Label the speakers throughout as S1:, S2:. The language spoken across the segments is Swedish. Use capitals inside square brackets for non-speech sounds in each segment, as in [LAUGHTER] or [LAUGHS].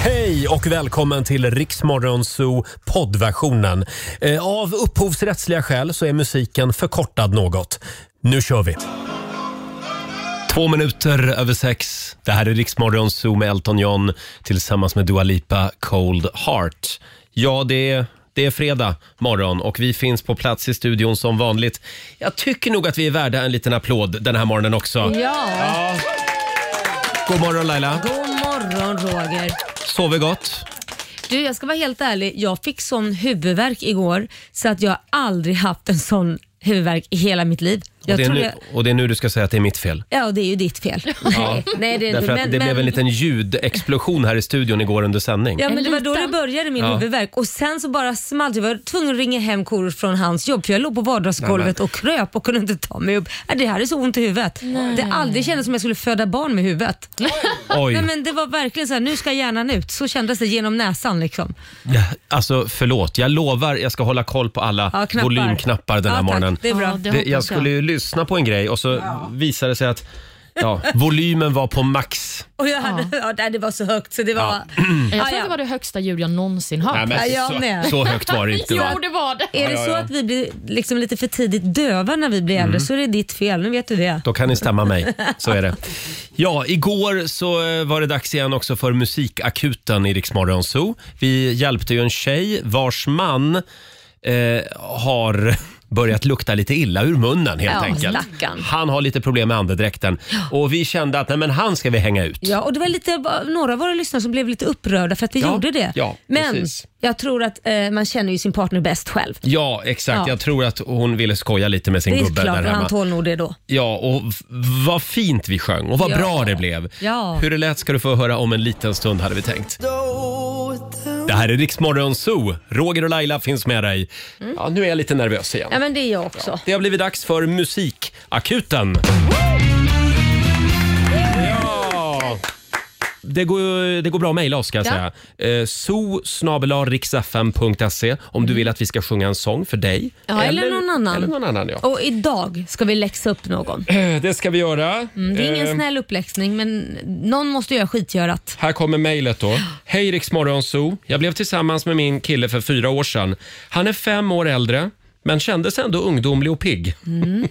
S1: Hej och välkommen till Riksmorgonzoo poddversionen. Eh, Av upphovsrättsliga skäl så är musiken förkortad något. Nu kör vi! Två minuter över sex. Det här är Riksmorgonzoo med Elton John tillsammans med Dua Lipa, Cold Heart. Ja, det är, det är fredag morgon och vi finns på plats i studion som vanligt. Jag tycker nog att vi är värda en liten applåd den här morgonen också.
S2: Ja.
S1: God morgon Laila!
S2: God morgon Roger.
S1: Sover gott?
S2: Du, jag ska vara helt ärlig. Jag fick sån huvudvärk igår så att jag aldrig haft en sån huvudvärk i hela mitt liv.
S1: Och
S2: Jag
S1: det, är
S2: tror
S1: nu,
S2: jag,
S1: och det är nu du ska säga att det är mitt fel.
S2: ja, det är ju ditt fel. Nej, nej, det är inte.
S1: Därför att
S2: Men,
S1: det
S2: men,
S1: blev en liten ljudexplosion här i studion igår under sändning.
S2: ja, men
S3: En
S2: det var då det
S3: liten.
S2: började min
S1: Ja.
S2: huvudvärk och sen så bara small det. Jag var tvungen att ringa hem Korosh från hans jobb för jag låg på vardagsgolvet
S1: Nämen.
S2: och kröp och kunde inte ta mig upp. Nej, Det här är så ont i huvudet. Det aldrig kändes som jag skulle föda barn med huvudet.
S1: Oj.
S2: Nej, men det var verkligen så här, nu ska hjärnan ut. Så kändes det genom näsan liksom.
S1: Ja, Alltså förlåt, jag lovar jag ska hålla koll på alla
S2: Ja, knappar.
S1: volymknappar den här
S2: ja,
S1: morgonen.
S2: Tack, det är bra.
S3: Ja, det
S1: Det,
S3: hoppas
S1: jag skulle ju lyssna på en grej och så visade det sig att ja, volymen var på max.
S2: Och jag hade, [LAUGHS] ja. nej, det var så högt så det
S1: [CLEARS THROAT]
S2: var...
S1: Ja.
S3: jag. Jag
S2: Ah,
S3: tror
S2: ja.
S3: att det var det högsta ljud jag någonsin hört.
S2: Ja, jag med.
S1: så, så högt var det inte.
S3: [LAUGHS] jo,
S1: Va?
S3: det var det.
S2: Är det
S1: ja,
S2: så
S1: ja. Mm.
S2: att vi blir liksom lite för tidigt döva när vi blir äldre så är det ditt fel. Nu vet du det.
S1: Då kan ni stämma mig. Så är det.
S2: [LAUGHS]
S1: Ja, igår så eh, var det dags igen också för musikakuten i Rix Morgon Zoo. Vi hjälpte ju en tjej vars man eh, har [LAUGHS] börjat lukta lite illa ur munnen helt
S2: Ja,
S1: enkelt.
S2: stackarn.
S1: Han har lite problem
S2: [GASPS]
S1: med andedräkten och vi kände att nej, men han ska vi hänga ut.
S2: Ja, och det var lite, några av våra lyssnare som blev lite upprörda för att vi
S1: Ja,
S2: gjorde det.
S1: ja,
S2: Men
S1: precis.
S2: jag tror att eh, man känner ju sin partner bäst själv.
S1: Ja, exakt.
S2: Ja.
S1: Jag tror att hon ville skoja lite med sin
S2: Det är
S1: gubbe
S2: klart
S1: där
S2: att
S1: hemma.
S2: han tål nog det då.
S1: Ja, och v- vad fint vi sjöng och vad
S2: Ja.
S1: bra det blev.
S2: Ja.
S1: Hur det lät ska du få höra om en liten stund hade vi tänkt. Det här är Riksmorgon Zoo. Roger och Laila finns med dig. Ja, nu är jag lite nervös igen.
S2: Mm. Ja, men det är jag också.
S1: Det har blivit dags för Musikakuten. Ja. Det går, det går bra att mejla oss ska jag
S3: Ja.
S1: säga. Eh, so om du vill att vi ska sjunga en sång för dig.
S2: Mm. Ja, eller någon annan.
S1: Eller någon annan ja.
S2: Och idag ska vi läxa upp någon.
S1: Eh, Det ska vi göra.
S2: Mm, Det är ingen
S1: Eh,
S2: snäll uppläxning men någon måste göra skitgörat.
S1: Här kommer mejlet då. Hej Rix Morgonzoo. Jag blev tillsammans med min kille för fyra år sedan. Han är fem år äldre, men kändes ändå ungdomlig och pigg.
S3: Mm.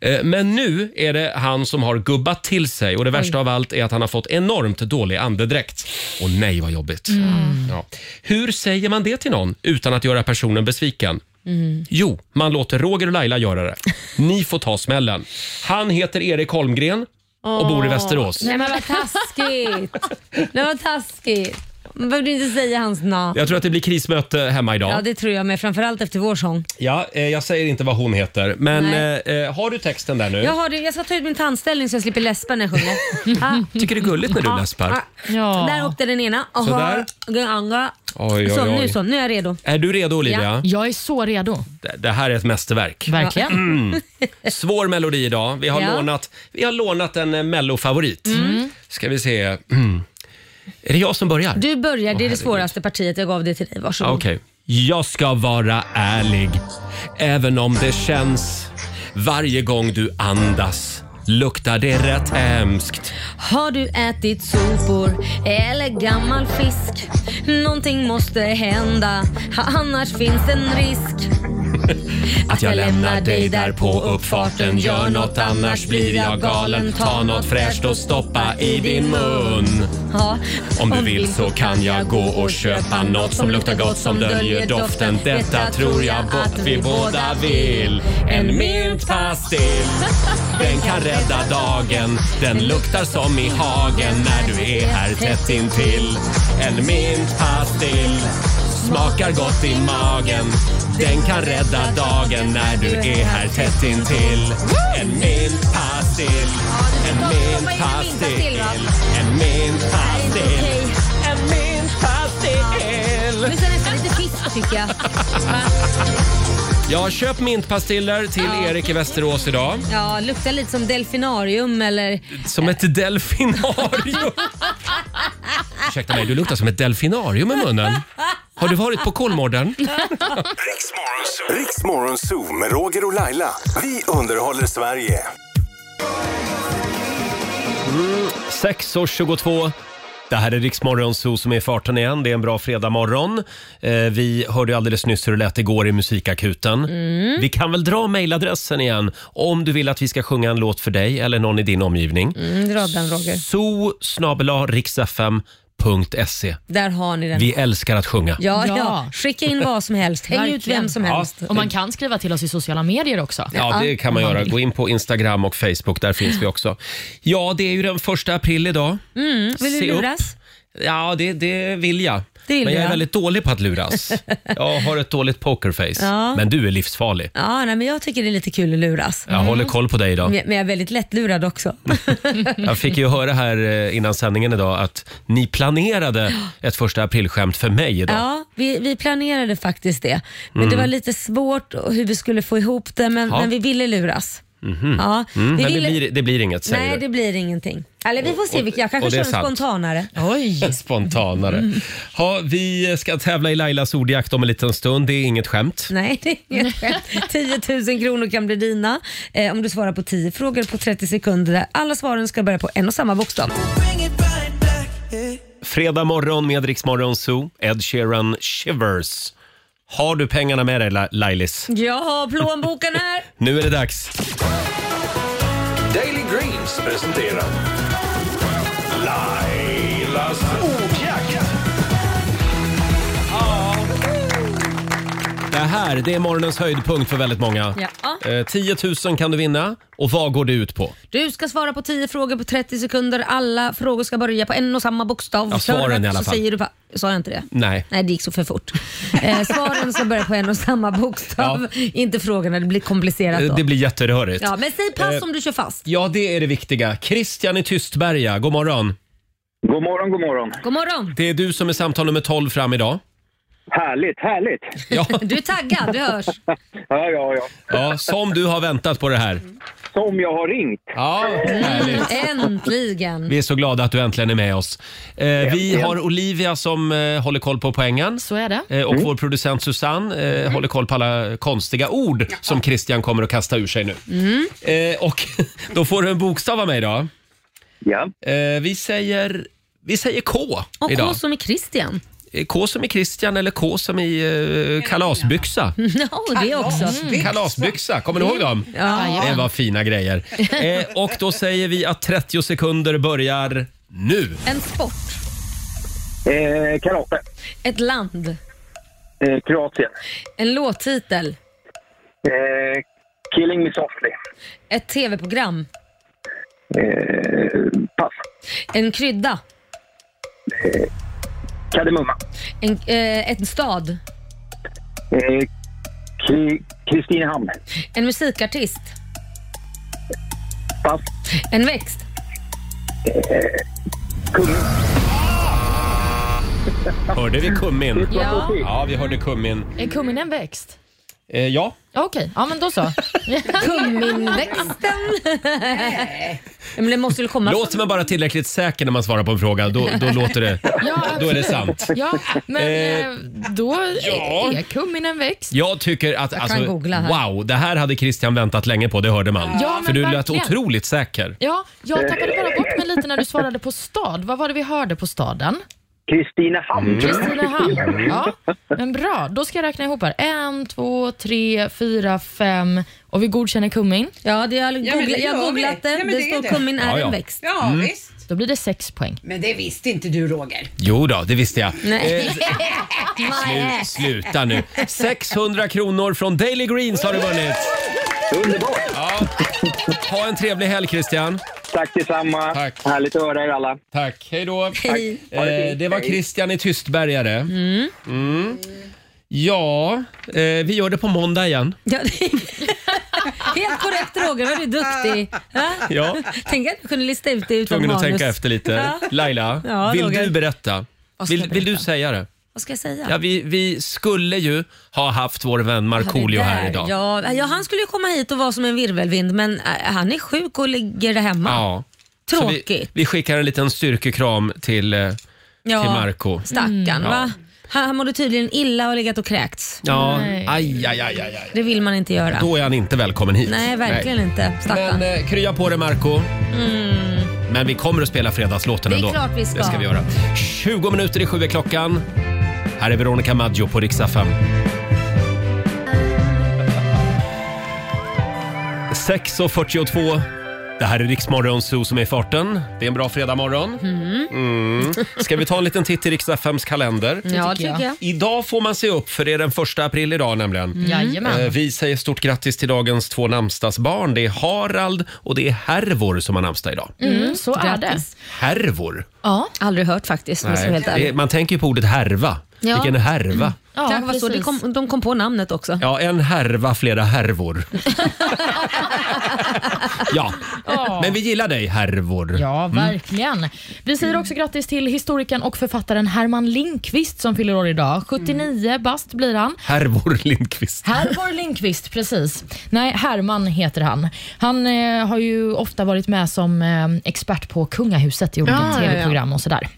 S1: Eh, men nu är det han som har gubbat till sig och det värsta av allt är att han har fått enormt dålig andedräkt. Och nej vad jobbigt.
S2: Mm.
S1: Ja. Hur säger man det till någon utan att göra personen besviken?
S2: Mm.
S1: Jo, man låter Roger och Laila göra det. Ni får ta smällen. Han heter Erik Holmgren och bor i Västerås.
S2: Nej men vad
S1: [LAUGHS]
S2: taskigt. Nej vad taskigt. Man behövde inte säga hans namn.
S1: Jag tror att det blir krismöte hemma idag.
S2: Ja, det tror jag med. Framförallt efter vår sång.
S1: Ja, eh, jag säger inte vad hon heter, men
S2: Nej.
S1: eh, eh, har du texten där nu?
S2: Jag, har det, jag ska ta ut min tandställning så jag slipper läspa när jag sjunger.
S1: [LAUGHS] tycker det är gulligt när du läspar.
S2: Ah,
S3: Ja.
S2: Där åkte den ena. Aha.
S1: Sådär.
S2: Den andra.
S1: Oj, oj,
S2: Så,
S1: oj.
S2: nu så. Nu är jag redo.
S1: Är du redo Olivia?
S3: Jag är så redo.
S1: Det- Det här är ett mästerverk. Mm.
S3: Verkligen.
S2: [LAUGHS]
S1: Svår melodi idag. Vi har,
S2: Ja.
S1: lånat, vi har lånat en eh, mellofavorit.
S2: Mm.
S1: Ska vi se. Mm. Är det jag som börjar?
S2: Du börjar. Det är det
S1: herregud. Ah,
S2: svåraste partiet. Jag gav det till dig. Varsågod.
S1: Okej. Jag ska vara ärlig, även om det känns. Varje gång du andas luktar det rätt hemskt.
S2: Har du ätit sopor eller gammal fisk? Någonting måste hända, ha- annars finns en risk.
S1: Att jag lämnar dig där på uppfarten Gör något annars blir jag galen Ta något fräscht och stoppa i din mun
S2: Ja.
S1: Om du vill så kan jag gå och köpa något som luktar gott som döljer doften Detta tror jag att vi båda vill En mintpastill Den kan rädda dagen Den luktar som i hagen när du är här tätt intill En mintpastill Smakar gott i magen Den kan rädda dagen när du är här tätt intill En mintpastill En mintpastill En mintpastill En mintpastill
S2: Nu ska nästan lite fisk tycker jag.
S1: Jag köp mintpastiller till Erik i Västerås idag.
S2: Ja, luktar lite som delfinarium eller...
S1: Som ett delfinarium. Ursäkta mig, du luktar som ett delfinarium i munnen. Har du varit på Kolmården?
S4: Riks Morgonzoo med [LAUGHS] Roger och Laila. Vi underhåller Sverige.
S1: 6.22. Det här är Riksmorgon Zoo som är i farten igen. Det är en bra fredagmorgon. Eh, vi hörde ju alldeles nyss hur det lät igår i musikakuten.
S2: Mm.
S1: Vi kan väl dra mejladressen igen om du vill att vi ska sjunga en låt för dig eller någon i din omgivning.
S2: Mm, dra den Roger.
S1: zoo.riksfm.se
S2: Där har ni den.
S1: Vi älskar att sjunga.
S2: Ja, ja.
S3: Ja.
S2: skicka in vad som helst. Häng ut
S3: Verkligen.
S2: vem som
S1: Ja.
S2: helst.
S3: Och man kan skriva till oss i sociala medier också.
S1: Ja, det kan man göra. Gå in på Instagram och Facebook, där finns vi också. Ja, det är ju den första april idag.
S2: Mm, Vill du
S1: Se upp.
S2: luras?
S1: Ja, det, det vill jag.
S2: Det vill
S1: Men jag
S2: du,
S1: är
S2: ja.
S1: väldigt dålig på
S2: [LAUGHS]
S1: att luras. Jag har ett dåligt pokerface.
S2: Ja.
S1: Men du är livsfarlig.
S2: Ja, Mm. nej, men jag tycker det är lite kul att luras.
S1: Jag håller koll på dig idag.
S2: Men men jag är väldigt lättlurad också.
S1: Jag fick ju höra här eh, innan sändningen idag att ni planerade ett första aprilskämt för mig idag.
S2: Ja, vi, vi planerade faktiskt det. Men det var lite svårt och hur vi skulle få ihop det, men,
S1: Mm. Ja.
S2: men vi ville luras. Ja, vi
S1: Mm, men
S2: ville...
S1: det, blir, det blir inget, säger
S2: Nej,
S1: du.
S2: det blir ingenting. Eller vi får se, vilka- jag
S1: och
S2: kanske
S1: det är
S2: kör
S1: sant.
S2: en spontanare.
S3: Oj!
S1: [LAUGHS] Spontanare. Ha, vi ska tävla i Lailas ordjakt om en liten stund. Det är inget skämt.
S2: Nej, det är
S1: [LAUGHS]
S2: inget skämt. 10 000 kronor kan bli dina eh, om du svarar på 10 frågor på 30 sekunder. där Alla svaren ska börja på en och samma bokstav.
S1: Fredag morgon med Rix Morgon Zoo. Ed Sheeran Shivers. Har du pengarna med dig La- Lailis?
S2: Jag har plånboken här.
S1: Nu är det dags.
S4: Daily Greens presenterar Lailas ordjakt.
S1: Det här det är morgonens höjdpunkt för väldigt många.
S2: Ja.
S1: Eh, 10 000 kan du vinna. Och vad går det ut på?
S2: Du ska svara på 10 frågor på 30 sekunder. Alla frågor ska börja på en och samma bokstav.
S1: Ja, svaren
S2: Kör rätt
S1: i alla
S2: så
S1: fall.
S2: Säger du pa- Sa jag inte det?
S1: Nej.
S2: Nej, det gick så för fort. Eh, svaren ska börja på en och samma bokstav. Inte frågorna, det blir komplicerat
S1: Eh,
S2: då.
S1: Det blir jätterörigt.
S2: Ja, men säg pass
S1: Eh.
S2: om du kör fast.
S1: Ja, det är det viktiga. Christian i Tystberga, god morgon.
S5: God morgon, god morgon.
S2: God morgon.
S1: Det är du som är samtal nummer 12 fram idag.
S5: Härligt, härligt. [LAUGHS]
S1: Ja,
S2: Du är taggad, det
S3: [LAUGHS]
S2: hörs.
S5: Ja, ja, ja.
S1: ja som du har väntat på det här.
S5: Som jag har ringt.
S1: Ja, härligt.
S2: Äntligen.
S1: Mm. Vi är så glada att du äntligen är med oss. Eh, vi har Olivia som eh, håller koll på poängen.
S3: Så är det.
S1: Eh, och vår producent Susanne eh, håller koll på alla konstiga ord som Christian kommer att kasta ur sig nu. Eh, och [LAUGHS] då får du en bokstav av mig då.
S5: Ja.
S1: Eh, vi säger... Vi säger K
S2: Och
S1: idag.
S2: K som är Christian. [LAUGHS]
S1: Eh, K som i Christian eller K som i eh, kalasbyxa.
S2: Ja, det också.
S1: Mm. Kalasbyxa, kommer ni ihåg dem?
S3: Mm. Ja.
S1: Det var
S3: [LAUGHS]
S1: fina grejer. Eh, och då säger vi att 30 sekunder börjar nu.
S2: En sport.
S5: Eh, karate.
S2: Ett land.
S5: Eh, Kroatien.
S2: En låttitel.
S5: Eh, killing me softly.
S2: Ett tv-program.
S5: Eh, pass. Eh,
S2: En krydda.
S5: Kardemumma.
S2: En, eh, en stad.
S5: Eh, Kri- Kristinehamn.
S2: En musikartist.
S5: Pass.
S2: En växt. [LAUGHS]
S5: Kung.
S1: Hörde vi kummin?
S3: Ja.
S1: Ja, vi hörde kummin.
S3: Är kummin en växt?
S1: Eh, ja,
S3: Ja, Okej, ja men då så.
S2: [LAUGHS]
S3: [LAUGHS]
S2: Kumminväxten. Men det måste väl komma
S1: låter man bara tillräckligt säker när man svarar på en fråga, då,
S3: [LAUGHS]
S1: då låter det...
S3: Ja,
S1: Då är det
S3: absolut.
S1: sant.
S3: Ja, men
S1: Eh,
S3: eh, då
S1: ja.
S3: är, är kummin en växt.
S1: Jag tycker att... Jag
S2: kan googla här.
S1: Wow, det här hade Christian väntat länge på, det hörde man.
S3: Ja,
S1: För
S3: men
S1: du lät
S3: verkligen.
S1: otroligt säker.
S3: Ja, jag tappade bara bort mig lite när du svarade på stad. Vad var det vi hörde på staden?
S5: Kristinehamn.
S3: Mm. Kristinehamn.
S5: [LAUGHS]
S3: Ja, [LAUGHS] men bra. Då ska jag räkna ihop här. En, två, tre, fyra, fem och vi godkänner kummin.
S2: Ja, det jag, googla,
S6: men det
S2: jag
S6: gör
S2: har
S6: vi.
S2: googlat det.
S6: Ja, men
S2: det,
S6: det är
S2: står
S6: det.
S2: kummin är
S1: Ja, ja.
S2: en växt.
S6: Ja,
S3: Mm.
S6: visst.
S3: Då blir det sex poäng.
S6: Men det visste inte du, Roger.
S1: Jo då, det visste jag.
S3: Eh,
S2: [LAUGHS] Nej.
S1: Slu- sluta nu. 600 kronor från Daily Greens har du vunnit.
S5: Underbart.
S1: Ha en trevlig helg Christian.
S5: Tack detsamma.
S1: Tack.
S5: Härligt att höra er alla.
S1: Tack, hej då.
S2: Hej.
S1: Eh, det var Christian i Tystbergare. Mm. Ja, eh, vi gör det på måndag igen.
S2: Ja, det- Helt korrekt Roger, vad du är duktig. Ja?
S1: Ja.
S2: Tänk att du kunde lista ut det utan
S1: Tvungen att
S2: manus.
S1: tänka efter lite.
S2: [LAUGHS] Ja.
S1: Laila,
S2: Ja,
S1: vill
S2: Roger.
S1: du berätta?
S2: Vad ska
S1: Vill,
S2: jag
S1: vill du
S2: berätta?
S1: säga det?
S2: Vad ska jag säga?
S1: Ja, vi, vi skulle ju ha haft vår vän Markoolio
S2: Det där,
S1: här idag.
S2: Ja, ja, han skulle ju komma hit och vara som en virvelvind men eh, han är sjuk och ligger där hemma.
S1: Ja. Så vi,
S2: Tråkigt.
S1: vi skickar en liten styrkekram till, eh,
S2: Ja,
S1: till Marco.
S2: Stackarn
S1: Mm.
S2: va? Han, han mådde tydligen illa och har legat och kräkts.
S1: Ja,
S3: Nej.
S1: aj, aj, aj, aj, aj.
S2: Det vill man inte göra.
S1: Då är han inte välkommen hit. eh,
S2: Nej, verkligen inte. Stackarn. Mm.
S1: Men eh, krya på dig Marco Men vi kommer att spela fredagslåten
S2: Det är
S1: ändå.
S2: klart vi ska.
S1: Det ska vi göra. 20 minuter i sju är klockan. Här är Veronica Maggio på riksdag 5. och 42. Det här är Riksmorgon Zoo som är i farten. Det är en bra fredagmorgon. Mm. Ska vi ta en liten titt i riksdag 5s kalender?
S2: Ja,
S3: tycker
S2: tycker jag.
S1: Idag får man se upp för det är den första april idag nämligen.
S3: Mm. Jajamän.
S1: Eh, Vi säger stort grattis till dagens två namnsdagsbarn. Det är Harald och det är Hervor som har namnsdag idag.
S3: Mm, så är det.
S2: Grattis.
S1: Härvor?
S3: Ja,
S2: Aldrig hört faktiskt. om jag ska vara helt
S1: Det-
S2: ärlig.
S1: Man tänker ju på ordet härva.
S2: Ja. Mm.
S1: Vilken härva.
S3: ja
S2: Kanske var så. Det
S3: precis.
S2: kom, de kom på namnet också.
S1: Ja, en härva,
S2: [LAUGHS]
S1: flera härvor. ja.
S3: Ja.
S1: men vi gillar dig härvor. Mm.
S3: Ja, verkligen. Vi säger också grattis till historikern och författaren Herman Lindqvist som fyller år idag. 79 bast blir han.
S1: Härvor Lindqvist.
S3: Herman Lindqvist, precis. Nej, Herman heter han. Han eh, har ju ofta varit med som eh, expert på kungahuset i olika tv-program och sådär.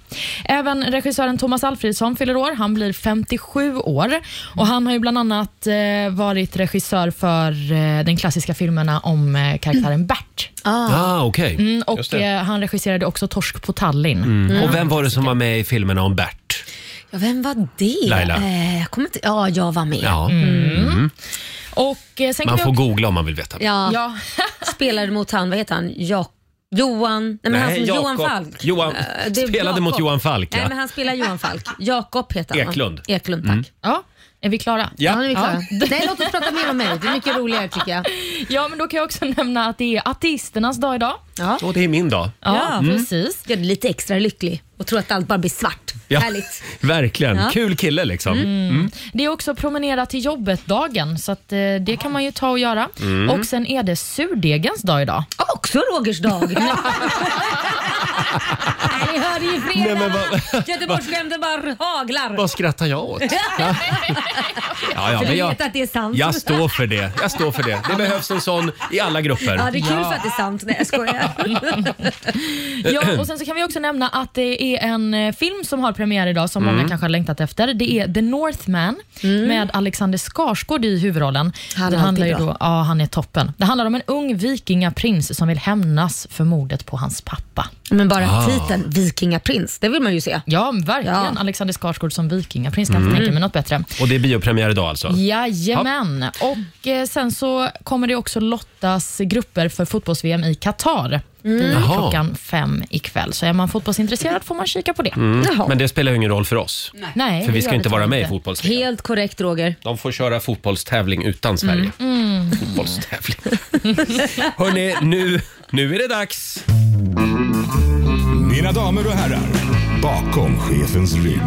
S3: Även regissören Thomas Alfredsson fyller år. Han blir 57 år och han har ju bland annat eh, varit regissör för eh, den klassiska filmerna om eh, karaktären Bert.
S1: Ah, okej.
S3: Mm,
S1: Just
S3: och
S1: det.
S3: eh, han regisserade också Torsk på Tallinn.
S1: Mm.
S2: Mm.
S1: Och vem var det som var med i filmerna om Bert?
S2: Ja, vem var det?
S1: Laila.
S2: Eh, jag kommer inte, ja, jag var med. Mm.
S1: Ja,
S3: Mm.
S1: Mm.
S3: Och eh, sen kan
S1: man
S3: vi
S1: får
S3: också-
S1: googla om man vill veta.
S2: Ja,
S3: Ja.
S2: [LAUGHS] Spelade mot han, vad heter han? Jo- Johan? Nej, men han som,
S1: Jakob-
S2: Johan Falk.
S1: Johan,
S2: Eh, det är
S1: spelade mot
S2: Jakob.
S1: Johan Falk, ja.
S2: Nej, men han spelar Johan Falk. Jakob heter han va?
S1: Eklund. Mm.
S2: Eklund, tack.
S3: ja, är vi klara?
S1: Ja.
S7: Ja, nu är vi klara. [LAUGHS] Nej, låt oss prata mer om mig. Det är mycket roligare tycker jag.
S3: Ja, men då kan jag också nämna att det är ateisternas dag idag.
S1: Och det är min dag. Mm.
S3: Ja, precis.
S2: Gör dig lite extra lycklig och tror att allt bara blir svart.
S1: Ja.
S2: Härligt. Mm.
S1: Verkligen. Kul kille liksom.
S3: Det är också promenera till jobbet-dagen, så att, eh, det kan man ju ta och göra.
S1: Mm.
S3: Och sen är det surdegens dag idag.
S2: Också Rogers dag.
S3: [LAUGHS]
S2: Nej, ni hörde ju
S1: Nej, men
S2: fredag.
S1: vad-
S2: Göteborgsskämten bara haglar.
S1: Vad skrattar jag
S2: [LAUGHS]
S1: åt? Ja, ja,
S2: För
S1: men
S2: du
S1: jag,
S2: vet att det är sant.
S1: jag står för det. Jag står för det. Det behövs en sån i alla
S2: Ja,
S1: grupper.
S2: det är kul för att det är sant. Nej, jag skojar.
S3: Ja,
S1: Mm.
S3: och sen så kan vi också nämna att det är en eh, film som har premiär idag som
S2: Mm.
S3: många kanske har längtat efter. Det är The Northman med Alexander Skarsgård i huvudrollen.
S2: Han är
S3: det handlar ju
S2: alltid
S3: då, ja, han är toppen. Det handlar om en ung vikingaprins som vill hämnas för mordet på hans pappa. Ah.
S2: Men bara titeln Vikingaprins, det vill man ju se.
S3: Ja, verkligen.
S2: Ja. Mm.
S3: Alexander Skarsgård som vikingaprins. Kan jag inte tänka mig något bättre.
S1: Och det är biopremiär idag alltså?
S3: Jajamän. Och eh, sen så kommer det också lottas grupper för fotbolls-VM i Qatar.
S2: Mm.
S1: Jaha.
S3: Klockan fem ikväll. Så är man fotbollsintresserad får man kika på det.
S2: Jaha.
S1: Mm. Men det spelar ju ingen roll för oss.
S3: Mm. Nej,
S1: För
S3: det
S1: vi ska
S3: gör
S1: inte
S3: det
S1: vara med i
S3: inte.
S1: fotbolls
S2: Helt korrekt Roger. Mm.
S1: De får köra fotbollstävling utan Sverige. Fotbollstävling. Hörni, nu, nu är det dags.
S4: Mina damer och herrar, bakom chefens rygg.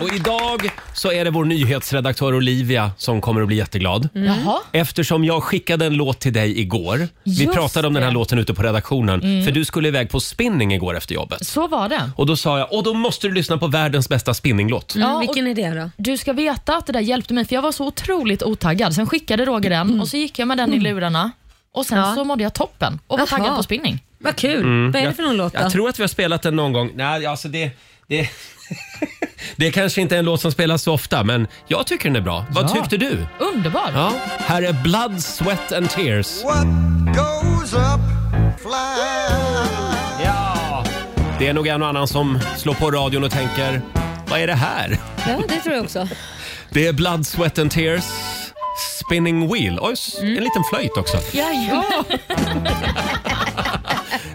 S1: Och idag så är det vår nyhetsredaktör Olivia som kommer att bli jätteglad.
S7: Mm.
S3: Jaha.
S1: Eftersom jag skickade en låt till dig igår. Vi
S3: Just
S1: pratade om den här
S3: det. Mm.
S1: låten ute på redaktionen. För du skulle iväg på spinning igår efter jobbet.
S3: Så var det.
S1: Och då sa jag, och då måste du lyssna på världens bästa spinninglåt.
S3: Ja,
S2: Mm,
S3: och-
S2: vilken är det då?
S3: Du ska veta att det där hjälpte mig, för jag var så otroligt otaggad. Sen skickade Roger den
S2: Mm.
S3: och så gick jag med den i lurarna och sen så mådde jag toppen och var
S2: Jaha.
S3: taggad på spinning.
S2: Vad kul. Vad är det för någon låt då?
S1: Mm. Jag tror att vi har spelat den någon gång. Nej, alltså det... det... [LAUGHS] Det kanske inte är en låt som spelas så ofta, men jag tycker den är bra. Vad
S3: Ja.
S1: tyckte du?
S3: Underbar!
S1: Ja, här är Blood, Sweat and Tears.
S8: What goes up flies.
S1: Ja. Det är nog en och annan som slår på radion och tänker, vad är det här?
S2: [LAUGHS] Ja, det tror jag också.
S1: Det är Blood, Sweat and Tears, Spinning Wheel. Oj, s-
S2: Mm.
S1: en liten flöjt också.
S3: Ja.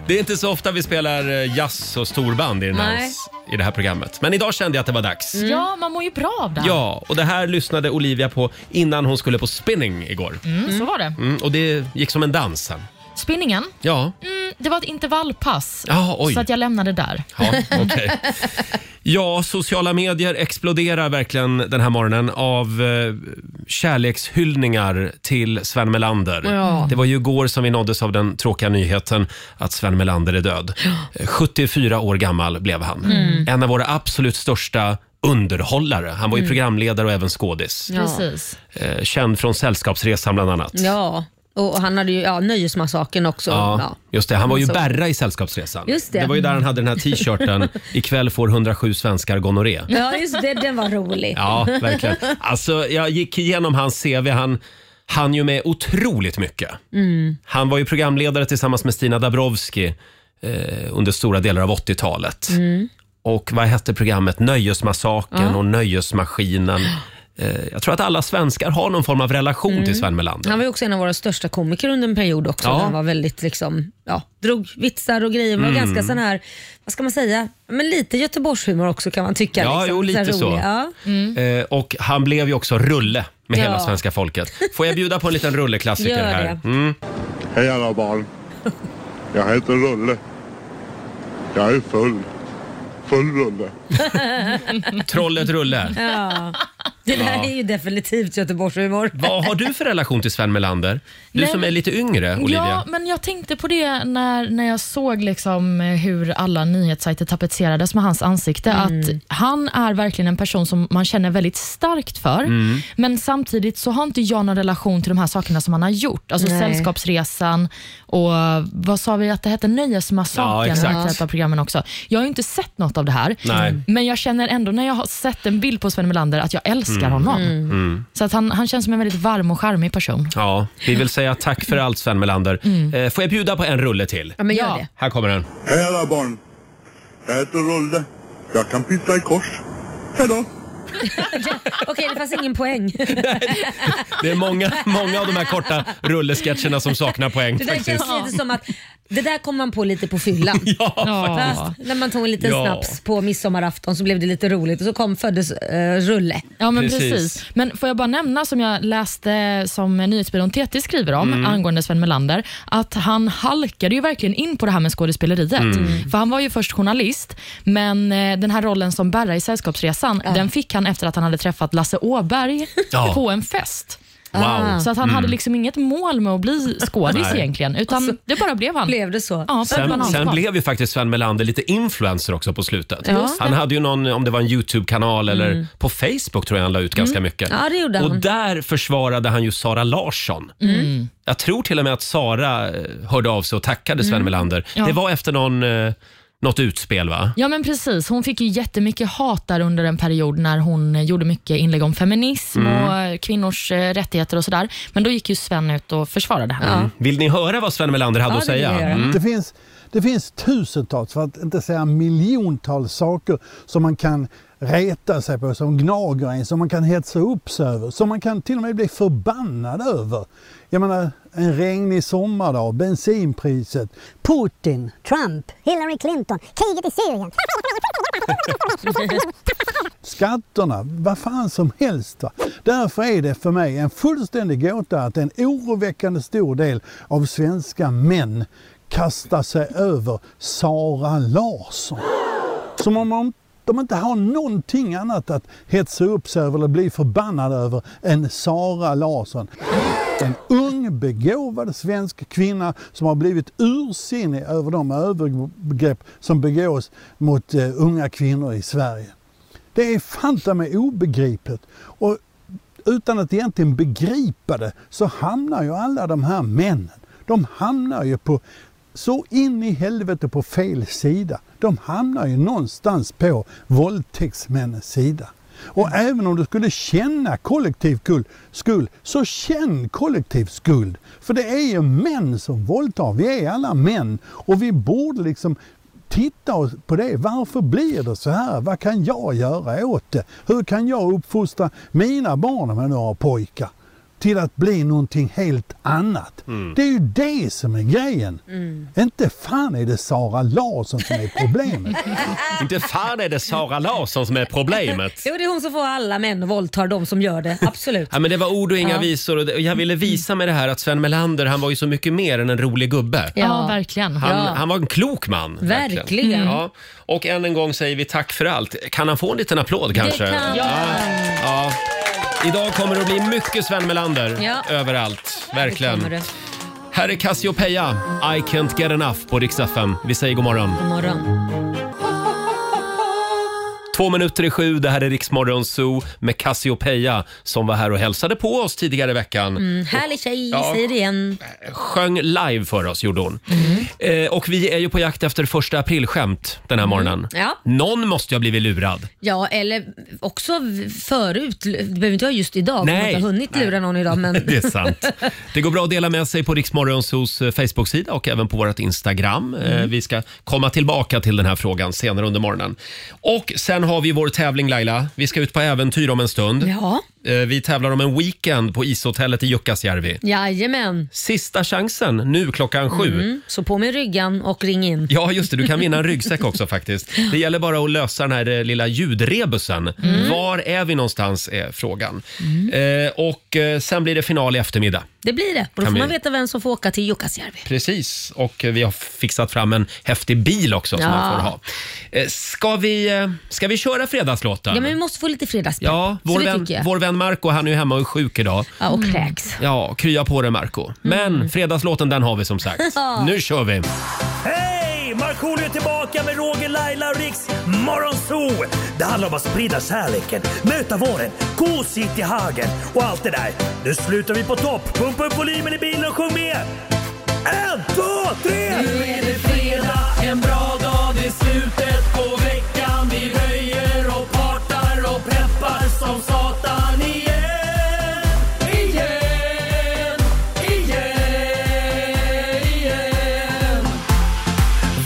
S1: Det är inte så ofta vi spelar eh, jazz och storband i, den här,
S2: Nej.
S1: i det här programmet. Men idag kände jag att det var dags.
S3: ja, man mår ju bra av det.
S1: Ja, och det här lyssnade Olivia på innan hon skulle på spinning igår.
S3: Mm, så var det.
S1: Mm, och det gick som en dans sen.
S3: Spinningen,
S1: Ja,
S3: mm, det var ett intervallpass.
S1: Ja, oj.
S3: Så att jag lämnade där.
S1: ja okej.
S3: [LAUGHS]
S1: Ja, sociala medier exploderar verkligen den här morgonen av eh, kärlekshyllningar till Sven Melander. Det var ju igår som vi nåddes av den tråkiga nyheten att Sven Melander är död. Eh, 74 år gammal blev han.
S3: Mm.
S1: En av våra absolut största underhållare. Han var ju programledare och även skådis.
S3: Precis.
S1: Eh, känd från Sällskapsresan bland annat.
S2: Ja, och och han hade ju ja, Nöjesmassakern också.
S1: Ja,
S2: Ja.
S1: just det. Han var ju
S2: Så-
S1: Berra i Sällskapsresan.
S2: Just det.
S1: var ju där han hade den
S2: [LAUGHS]
S1: här t-shirten. Ikväll får 107 svenskar gonorré.
S2: Ja, just det. Den var rolig.
S1: Ja, verkligen. Alltså, jag gick igenom hans CV. Han, han ju med otroligt mycket.
S7: Mm.
S1: Han var ju programledare tillsammans med Stina Dabrowski eh, under stora delar av 80-talet.
S3: Mm.
S1: Och vad hette programmet? Nöjesmassakern och Nöjesmaskinen. Eh, jag tror att alla svenskar har någon form av relation
S2: Mm.
S1: till Sven
S2: [LAUGHS]
S1: Melander.
S2: Han var ju också en av våra största komiker under en period också.
S1: Ja.
S2: Där han var väldigt liksom, ja, drog vitsar och grejer.
S1: Mm.
S2: Var ganska sån här, vad ska man säga, men lite Göteborgshumor också kan man tycka.
S1: Ja,
S2: liksom.
S1: jo, lite
S2: här
S1: så.
S2: rolig. Ja. [LAUGHS]
S1: Eh, och han blev ju också rulle med
S2: Mm. Ja.
S1: hela svenska folket. Får jag bjuda på en liten rulleklassiker
S2: Gör det.
S1: här? Mm.
S9: Hej alla barn. Jag heter Rulle. Jag är full. Full rulle.
S1: Trollet Rulle.
S2: [LAUGHS] Det där
S1: Ja.
S2: är ju definitivt Göteborgshumor.
S1: Vad har du för relation till Sven Melander? Du
S3: Nej,
S1: som
S3: men-
S1: är lite yngre, Olivia.
S3: Ja, men jag tänkte på det när, när jag såg liksom eh, hur alla nyhetssajter tapetserades med hans ansikte.
S7: Mm.
S3: Att Han är verkligen en person som man känner väldigt starkt för,
S1: Mm.
S3: men samtidigt så har inte jag någon relation till de här sakerna som han har gjort. Alltså
S2: Nej.
S3: Sällskapsresan och vad sa vi att det hette?
S1: Ja,
S3: Nöjesmassakern.
S1: exakt.
S3: och ett av programmen också. Jag har ju inte sett något av det här,
S1: Nej.
S3: men jag känner ändå när jag har sett en bild på Sven Melander att jag älskar
S1: Mm.
S3: honom.
S7: Mm.
S3: Så att han, han känns som en väldigt varm och charmig person.
S1: Ja, vi vill säga tack för allt Sven Melander.
S3: Mm.
S1: Eh, får jag bjuda på en rulle till?
S7: Ja, men gör
S3: Ja.
S7: det.
S1: Här kommer den.
S9: Hej alla barn. Jag heter Rulle. Jag kan pissa i kors. Hej då.
S2: Okej, det fanns ingen poäng.
S1: Det är många, många av de här korta rullesketcherna som saknar poäng
S2: Det där
S1: faktiskt.
S2: känns lite som att det där kom man på lite på fyllan.
S1: [LAUGHS] Ja,
S3: Ja.
S2: Fast när man tog en liten
S1: Ja.
S2: snaps på midsommarafton så blev det lite roligt och så kom föddes eh, Rulle.
S3: Ja, men
S1: Precis.
S3: precis. Men får jag bara nämna som jag läste som nyhetsbyrån TT skriver om
S1: Mm.
S3: angående Sven Melander, att han halkade ju verkligen in på det här med skådespeleriet.
S1: Mm.
S3: För han var ju först journalist, men eh, den här rollen som Berra i Sällskapsresan, den fick han efter att han hade träffat Lasse Åberg
S1: Ja.
S3: på en fest.
S1: wow. Mm.
S3: Så att han hade liksom inget mål med att bli skådis
S1: Nej.
S3: egentligen, utan det bara blev han.
S2: Blev det så?
S3: Ja, på ett
S1: Sen, sen
S3: bananskal.
S1: blev ju faktiskt Sven Melander lite influencer också på slutet.
S2: Ja. Mm.
S1: Han hade ju någon, om det var en YouTube-kanal eller på Facebook tror jag han la ut ganska mycket.
S2: Ja, det gjorde
S1: och
S2: han.
S1: där försvarade han ju Sara Larsson.
S7: Mm.
S1: Jag tror till och med att Sara eh, hörde av sig och tackade
S2: Mm.
S1: Sven Melander.
S3: Ja.
S1: Det var efter någon, eh, något utspel va?
S3: Ja men precis, hon fick ju jättemycket hat där under en period när hon eh, gjorde mycket inlägg om feminism
S1: Mm.
S3: och eh, kvinnors eh, rättigheter och sådär. Men då gick ju Sven ut och försvarade henne.
S1: Mm. Vill ni höra vad Sven Melander hade
S2: Ja,
S1: att
S2: det vill
S1: säga? Mm.
S2: jag göra. [LAUGHS]
S10: Det finns, det finns tusentals, för att inte säga miljontals saker som man kan reta sig på, som gnager en, som man kan hetsa upp sig över, som man kan till och med bli förbannad över. Jag menar, en regnig sommardag, bensinpriset, Putin, Trump,
S9: Hillary Clinton. Kriget i Syrien.
S10: skatterna, vad fan som helst. Va? Därför är det för mig en fullständig gåta att en oroväckande stor del av svenska män kastar sig över Sara Larsson. Som om de, de inte har någonting annat att hetsa upp sig över eller bli förbannade över än Sara Larsson. En ung, begåvad svensk kvinna som har blivit ursinnig över de övergrepp som begås mot eh, unga kvinnor i Sverige. Det är fanta mig obegripligt. Och utan att egentligen begripa det så hamnar ju alla de här männen, de hamnar ju på så in i helvete på fel sida. De hamnar ju någonstans på våldtäktsmännens sida. Och även om du skulle känna kollektiv kul- skuld, så känn kollektiv skuld. För det är ju män som våldtar, vi är alla män. Och vi borde liksom titta oss på det. Varför blir det så här? Vad kan jag göra åt det? Hur kan jag uppfostra mina barn, om jag nu har pojkar, till att bli någonting helt annat? Det är ju det som är grejen. Inte fan är det Sara Larsson som är problemet.
S1: Inte fan är det Sara Larsson som
S2: [LAUGHS]
S1: är problemet.
S2: Jo, det är hon som får alla män och våldtar de som gör det. Absolut.
S1: Ja, men det var ord och inga visor och det- och jag ville visa med det här att Sven Melander han var ju så mycket mer än en rolig gubbe.
S3: Ja,
S2: Ja.
S3: verkligen.
S1: Han, han var en klok man.
S2: Verkligen.
S1: Ja. Och än en gång säger vi tack för allt. Kan han få en liten applåd kanske?
S2: Det kan
S1: ja.
S2: han.
S1: Ja. Idag kommer det att bli mycket Sven Melander
S2: Ja.
S1: överallt.
S2: kommer
S1: Verkligen.
S2: det.
S1: Här är Cassiopeia, I can't get enough på Rix FM. Vi säger god morgon.
S2: God morgon.
S1: Två minuter i sju, det här är Riksmorgon Zoo med Cassiopeia som var här och hälsade på oss tidigare i veckan.
S2: Mm, härlig tjej,
S1: Ja.
S2: säger det igen.
S1: Sjöng live för oss, gjorde hon.
S2: Mm.
S1: Eh, och vi är ju på jakt efter första aprilskämt den här morgonen.
S2: Mm. Ja.
S1: Någon måste ju ha blivit lurad.
S2: Ja, eller också v- förut. Det behöver inte vara just idag.
S1: Nej.
S2: Man har inte hunnit lura någon idag. Men
S1: [LAUGHS] Det
S2: [LAUGHS]
S1: är sant. Det går bra att dela med sig på Riksmorgonsos Facebook-sida och även på vårt Instagram. Eh,
S2: Mm.
S1: Vi ska komma tillbaka till den här frågan senare under morgonen. Och sen har vi vår tävling Laila. Vi ska ut på äventyr om en stund.
S2: ja,
S1: Eh, Vi tävlar om en weekend på ishotellet i Jukkasjärvi.
S2: jajamän.
S1: Sista chansen nu klockan sju.
S2: Mm, så på med ryggan och ring in.
S1: Ja, just det. Du kan vinna en
S2: [LAUGHS]
S1: ryggsäck också faktiskt. Det gäller bara att lösa den här eh, lilla ljudrebusen.
S2: Mm.
S1: Var är vi någonstans är frågan. Eh, och eh, sen blir det final i eftermiddag.
S2: Det blir det. Och då
S1: Kan
S2: får
S1: vi-
S2: man veta vem som får åka till Jukkasjärvi.
S1: Precis, och eh, vi har fixat fram en häftig bil också som
S2: Ja.
S1: man får ha. Eh, Ska vi, eh, ska vi köra fredagslåten?
S2: Ja, men vi måste få lite fredagspepp.
S1: Ja,
S2: så
S1: vår,
S2: det
S1: vän,
S2: tycker jag.
S1: vår vän Marco han är ju hemma och är sjuk idag.
S2: Ja, och kräks. Mm.
S1: Ja, krya på dig Marco. Men fredagslåten den har vi som
S2: [LAUGHS]
S1: sagt. nu kör vi!
S11: Hej! Markoolio är tillbaka med Roger, Laila och Riks Morgonzoo! Det handlar om att sprida kärleken, möta våren, gosigt i hagen och allt det där. Nu slutar vi på topp! Pumpa upp volymen i bilen och sjung med! En, två, tre! Nu är det fredag, en bra dag, det är slutet på veckan. Vi röjer och partar och peppar som satan igen. Igen, igen, igen.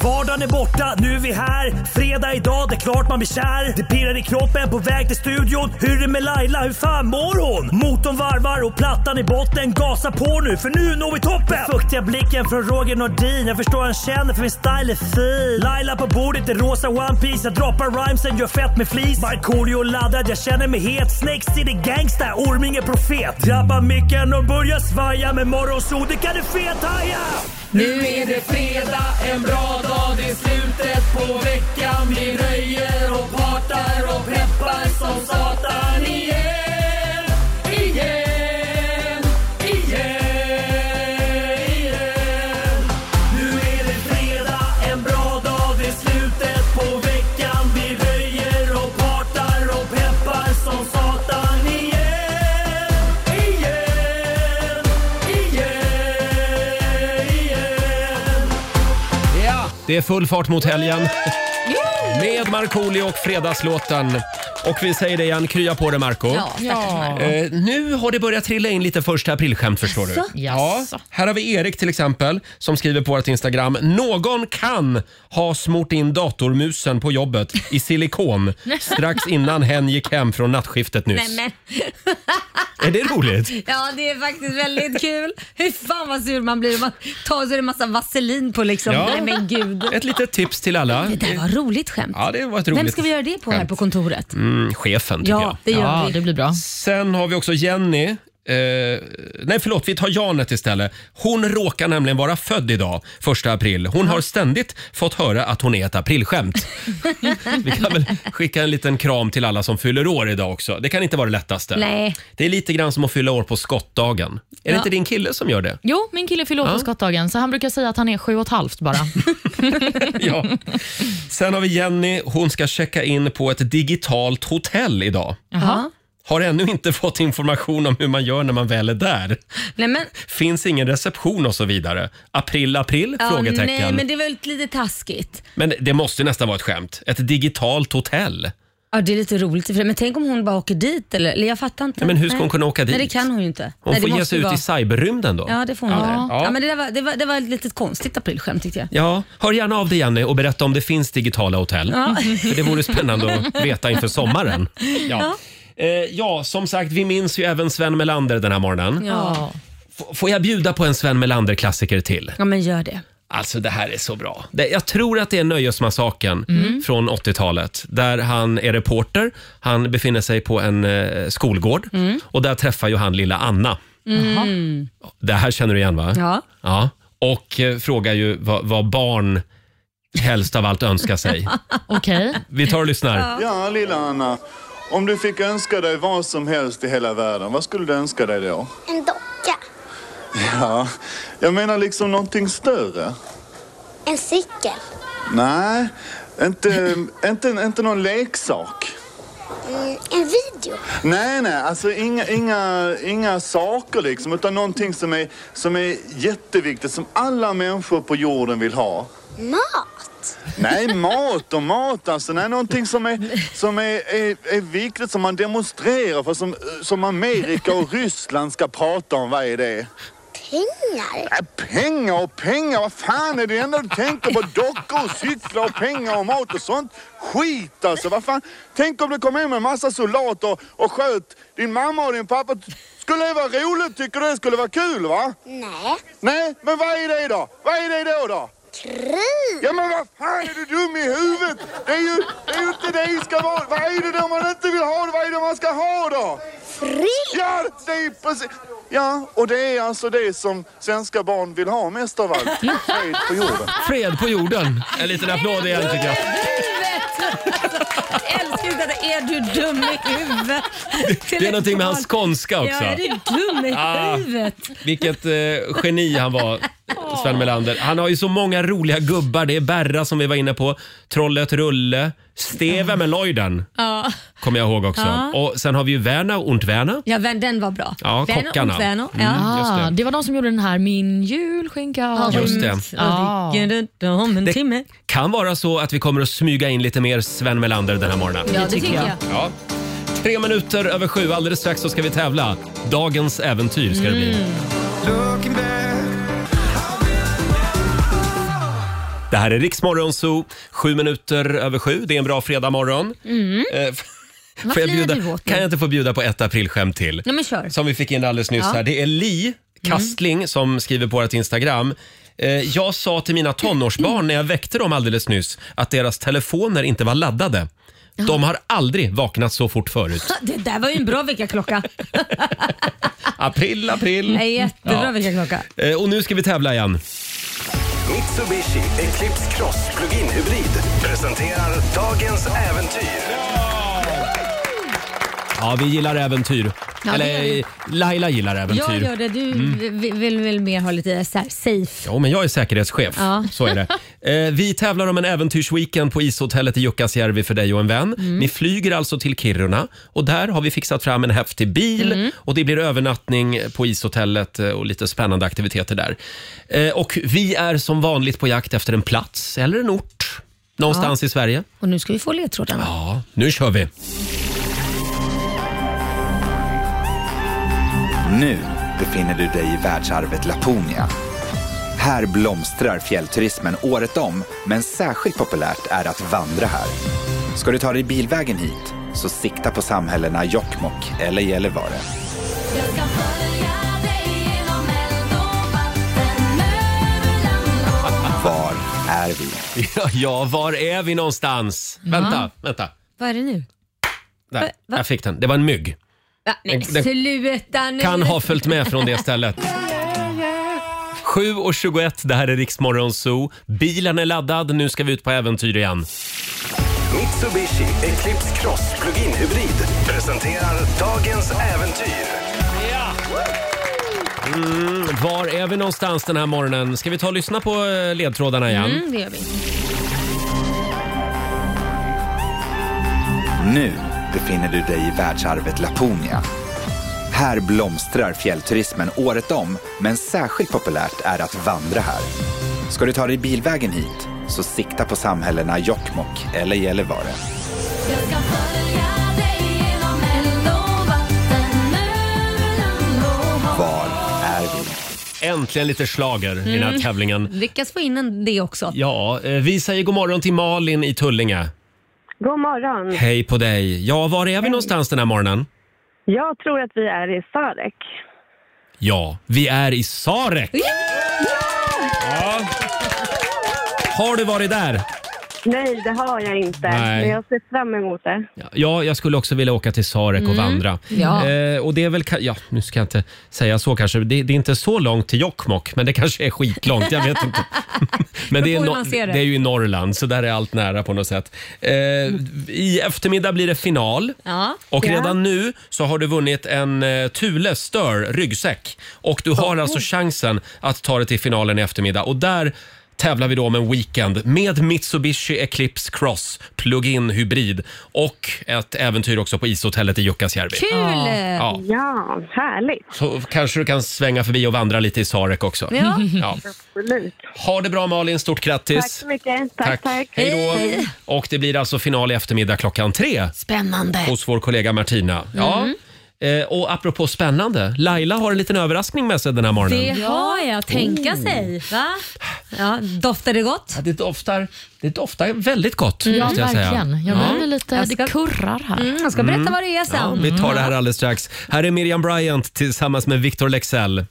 S11: Vardagen är borta, nu är vi här. Fredag idag, det är klart man blir kär. Det pirrar i kroppen på väg till studion. Hur är det med Laila, hur fan mår hon? Motorn varvar och plattan i botten. Gasa på nu, för nu når vi toppen! Den Fuktiga blicken från Roger Nordin. Jag förstår han känner för min style är fin. Laila på bordet i rosa One Piece Jag droppar rhymesen, gör fett med flis. Markoolio laddad, jag känner mig het. Snakes city gangsta, Orminge profet. Drabbar micken och börjar svaja. Med morgonsol, det kan du fethaja! Nu är det fredag, en bra dag, det är slutet på veckan. Vi röjer och partar och peppar som satan igen. Igen, igen, igen. Nu är det fredag, en bra dag, det är slutet på veckan. Vi röjer och partar och peppar som satan igen. Igen, igen, igen.
S1: Ja. Det är full fart mot helgen. Med Markoolio och fredagslåten. Och vi säger det igen, krya på dig Marco.
S2: Ja, ja.
S1: Eh, nu har det börjat trilla in lite första aprilskämt förstår du.
S2: Jaså?
S1: Ja, här har vi Erik till exempel som skriver på vårt Instagram. Någon kan ha smort in datormusen på jobbet
S2: [LAUGHS]
S1: i silikon strax innan hen gick hem från nattskiftet nyss.
S2: Nej, men,
S1: Är det roligt?
S2: ja, det är faktiskt väldigt kul. Hur fan vad sur man blir om man tar så är det massa vaselin på liksom.
S1: Ja.
S2: Nej men gud.
S1: Ett litet tips till alla.
S2: Det där var roligt skämt.
S1: Ja, det var ett roligt
S2: Vem ska vi göra det på här
S1: skämt.
S2: på kontoret?
S1: Mm, chefen tycker jag.
S2: Ja, det gör
S3: Ja,
S2: vi.
S3: det blir bra.
S1: Sen har vi också Jenny. Eh, nej, förlåt. Vi tar Janet istället. Hon råkar nämligen vara född idag, 1 april. Hon har ständigt fått höra att hon är
S2: [LAUGHS]
S1: ett aprilskämt. vi kan väl skicka en liten kram till alla som fyller år idag också. Det kan inte vara det lättaste.
S2: Nej.
S1: Det är lite grann som att fylla år på skottdagen. Är det
S2: Ja.
S1: inte din kille
S2: [LAUGHS]
S1: som gör det?
S3: Jo, min kille fyller år på skottdagen, så han brukar säga att han är sju och ett halvt
S1: [LAUGHS]
S3: bara.
S1: Ja. Sen har vi Jenny. Hon ska checka in på ett digitalt hotell idag.
S3: Jaha.
S1: Har ännu inte fått information om hur man gör när man väl är där.
S2: Nej, men,
S1: finns ingen reception och så vidare. April, april?
S2: ja,
S1: frågetecken.
S2: nej, men
S1: men...
S2: det var ju lite taskigt.
S1: det måste nästan vara ett skämt. Ett digitalt hotell.
S2: Ja, det är lite roligt. i och för sig, Men tänk om hon bara åker dit? Eller, eller jag fattar inte.
S1: Nej, men hur ska hon kunna åka dit?
S2: Nej, det kan hon ju inte.
S1: Hon
S2: nej,
S1: får
S2: det
S1: ge
S2: måste
S1: sig ut
S2: vara-
S1: i cyberrymden då.
S2: Ja, det får hon ja.
S1: Ja.
S2: Ja. men det, där var, det, var, det var ett litet konstigt aprilskämt tyckte jag.
S1: Ja, hör gärna av dig Jenny och berätta om det finns digitala hotell. [LAUGHS] För det vore spännande att veta
S2: [LAUGHS]
S1: inför sommaren. Ja. Eh, ja, som sagt, vi minns ju även Sven Melander den här morgonen.
S2: Ja.
S1: F- får jag bjuda på en Sven Melander-klassiker till?
S2: ja, men gör det.
S1: Alltså det här är så bra. Det, jag tror att det är Nöjesmassakern från 80-talet. Där han är reporter, han befinner sig på en eh, skolgård och där träffar ju han lilla Anna.
S2: Mm.
S1: Det här känner du igen va?
S2: Ja.
S1: Ja. Och eh, frågar ju vad, vad barn helst av allt önskar sig.
S3: Okej.
S1: Vi tar och lyssnar.
S9: Ja, lilla Anna. Om du fick önska dig vad som helst i hela världen, vad skulle du önska dig då?
S11: En docka,
S9: Ja, jag menar liksom någonting större.
S11: en cykel,
S12: Nej, inte, inte, inte någon leksak.
S13: Mm, en video?
S12: Nej, nej, alltså inga, inga, inga saker liksom, utan någonting som är, som är jätteviktigt, som alla människor på jorden vill ha.
S13: Mat?
S12: Nej, mat och mat alltså. Nej, någonting som är, som är, är, är viktigt, som man demonstrerar för, som, som Amerika och Ryssland ska prata om. Vad är det?
S13: Pengar?
S12: Nej, Äh, pengar och pengar, vad fan är det enda du tänker på? Dockor och cyklar och pengar och mat och sånt. Skit alltså, vad fan. Tänk om det kom hem en massa soldater och sköt din mamma och din pappa. Skulle det vara roligt? Tycker du det skulle vara kul va?
S13: Nej.
S12: Nej, men vad är det då? Vad är det då då?
S13: Krig?
S12: Ja men vad fan är du dum i huvudet? Det är ju, det är ju inte det det ska vara. Vad är det då man inte vill ha? Vad är det man ska ha då?
S13: Fred?
S12: Ja, det är precis. Ja, och det är alltså det som svenska barn vill ha mest av allt. Fred på jorden.
S1: Fred på jorden. En liten applåd igen tycker jag.
S2: Alltså, Älskar du detta? Är du dum i huvudet?
S1: Det är någonting med hans skånska också.
S2: Ja, är du dum i
S1: Ah.
S2: huvudet?
S1: Vilket eh, geni han var, Sven Melander. Han har ju så många roliga gubbar. Det är Berra som vi var inne på, Trollet Rulle, Steve med Lloyden
S2: Ja.
S1: kommer jag ihåg också.
S2: Ja.
S1: Och sen har vi ju Werner och Ont Werner.
S2: ja, vän- den var bra.
S1: Ja,
S2: Vän och
S1: kockarna.
S2: vän och-
S1: Mm,
S2: ja.
S1: just det.
S3: Ah, det var de som gjorde den här Min julskinka har
S1: Just det.
S3: rymt.
S2: Ah.
S3: Ah.
S2: Om en timme.
S1: Kan vara så att vi kommer att smyga in lite mer Sven Melander den här morgonen.
S2: Ja, det tycker jag.
S1: Ja. Tre minuter över sju, alldeles strax så ska vi tävla. Dagens äventyr ska det bli.
S2: Mm.
S1: Det här är Riksmorgon Zoo, sju minuter över sju. Det är en bra fredagmorgon.
S2: Mm.
S1: Eh, f-
S2: Vad
S1: får jag
S2: flinar
S1: bjuda,
S2: du åt nu?
S1: kan jag inte få bjuda på ett aprilskämt till?
S2: Nej, men kör.
S1: Som vi fick in alldeles nyss
S2: Ja. Mm.
S1: här. Det är Li Kastling som skriver på vårt Instagram. Eh, jag sa till mina tonårsbarn när jag väckte dem alldeles nyss att deras telefoner inte var laddade. De har aldrig vaknat så
S2: [LAUGHS]
S1: fort förut.
S2: Det där var ju en bra veckaklocka.
S1: April, april.
S2: Nej, jättebra
S1: Ja.
S2: veckaklocka.
S1: Eh, Och nu ska vi tävla igen.
S14: Mitsubishi Eclipse Cross Plug-in Hybrid presenterar dagens äventyr.
S1: Ja, vi gillar äventyr.
S2: Ja, det gör
S1: Eller
S2: vi.
S1: Laila gillar äventyr.
S2: Jag gör det. Du
S1: Mm.
S2: vill- vill väl mer ha lite så här safe.
S1: Jo, men jag är säkerhetschef.
S2: Ja.
S1: Så är det. Eh, vi tävlar om en äventyrsweekend på ishotellet i Jukkasjärvi för dig och en vän.
S2: Mm.
S1: Ni flyger alltså till Kiruna och där har vi fixat fram en häftig bil
S2: Mm.
S1: och det blir övernattning på ishotellet eh, och lite spännande aktiviteter där. Eh, och vi är som vanligt på jakt efter en plats eller en ort någonstans
S2: Ja.
S1: i Sverige.
S2: Och nu ska vi få ledtrådarna.
S1: Ja, nu kör vi.
S15: Nu befinner du dig i världsarvet Laponia. Här blomstrar fjällturismen året om, men särskilt populärt är att vandra här. Ska du ta dig bilvägen hit, så sikta på samhällena Jokkmokk eller Gällivare. [LAUGHS] Var är vi?
S1: Ja, ja var är vi någonstans?
S2: Ja.
S1: Vänta, vänta.
S2: Vad är det nu?
S1: Där,
S2: va?
S1: jag fick den. Det var en mygg.
S2: Va? Men
S1: Den- den
S2: sluta nu.
S1: Kan ha följt med från det stället. 7.21, det här är Riksmorgon Zoo. Bilen är laddad, nu ska vi ut på äventyr igen.
S14: Mitsubishi Eclipse Cross Plug-in Hybrid presenterar dagens äventyr.
S1: Mm, var är vi någonstans den här morgonen? Ska vi ta och lyssna på eh, ledtrådarna igen?
S2: Mm, [LAUGHS] det gör vi.
S15: Nu befinner du dig i världsarvet Laponia. Här blomstrar fjällturismen året om, men särskilt populärt är att vandra här. Ska du ta dig bilvägen hit, så sikta på samhällena Jokkmokk eller Gällivare. Var är vi?
S1: Äntligen lite slager i den här
S2: Mm.
S1: tävlingen.
S2: Lyckas få in en- det också.
S1: Ja, eh, vi säger god morgon till Malin i Tullinge.
S16: God morgon.
S1: Hej på dig. Ja, var är vi någonstans den här morgonen?
S16: Jag tror att vi är i Sarek.
S1: [LAUGHS] Ja, vi är i Sarek. Ja. Har du varit där?
S16: Nej, det har jag inte.
S1: Nej.
S16: Men jag ser fram emot det.
S1: Ja, jag skulle också vilja åka till Sarek och
S16: Mm.
S1: vandra.
S16: Ja.
S1: Eh, och det är väl, ka- ja, nu ska jag inte säga så kanske. Det, det är inte så långt till Jokkmokk, men det kanske är skitlångt. Jag vet inte.
S16: [LAUGHS]
S1: men det är,
S2: hur
S1: no-
S2: man ser det.
S1: det är ju i Norrland, så där är allt nära på något sätt. Eh, I eftermiddag blir det final.
S2: Ja.
S1: Och
S2: ja.
S1: redan nu så har du vunnit en eh, Thule Stör ryggsäck. Och du har alltså chansen att ta dig till finalen i eftermiddag. Och där tävlar vi då om en weekend med Mitsubishi Eclipse Cross plug-in hybrid och ett äventyr också på ishotellet i Jukkasjärvi.
S16: Kul!
S1: Ja.
S16: Ja, härligt.
S1: Så kanske du kan svänga förbi och vandra lite i Sarek också.
S16: Ja.
S1: Ja.
S16: Absolut.
S1: Ha det bra Malin, stort
S16: Tack
S1: grattis!
S16: så mycket. Tack, tack.
S1: Hej då! Och det blir alltså final i eftermiddag klockan tre
S2: Spännande.
S1: hos vår kollega Martina. Ja.
S2: Mm.
S1: Eh, och apropå spännande, Laila har en liten överraskning med sig den här morgonen.
S2: Det har jag, tänka
S1: Oh.
S2: sig. Va? Ja, doftar det gott?
S1: Ja, det doftar, det doftar väldigt gott.
S2: Mm. Ja,
S1: måste jag
S2: verkligen.
S1: Säga.
S2: Jag
S1: Ja.
S2: blir lite-
S3: Det kurrar här.
S2: Mm, jag ska berätta
S1: Mm.
S2: vad det är
S1: Ja,
S2: sen. Mm.
S1: vi tar det här alldeles strax. Här är Miriam Bryant tillsammans med Victor Lexell.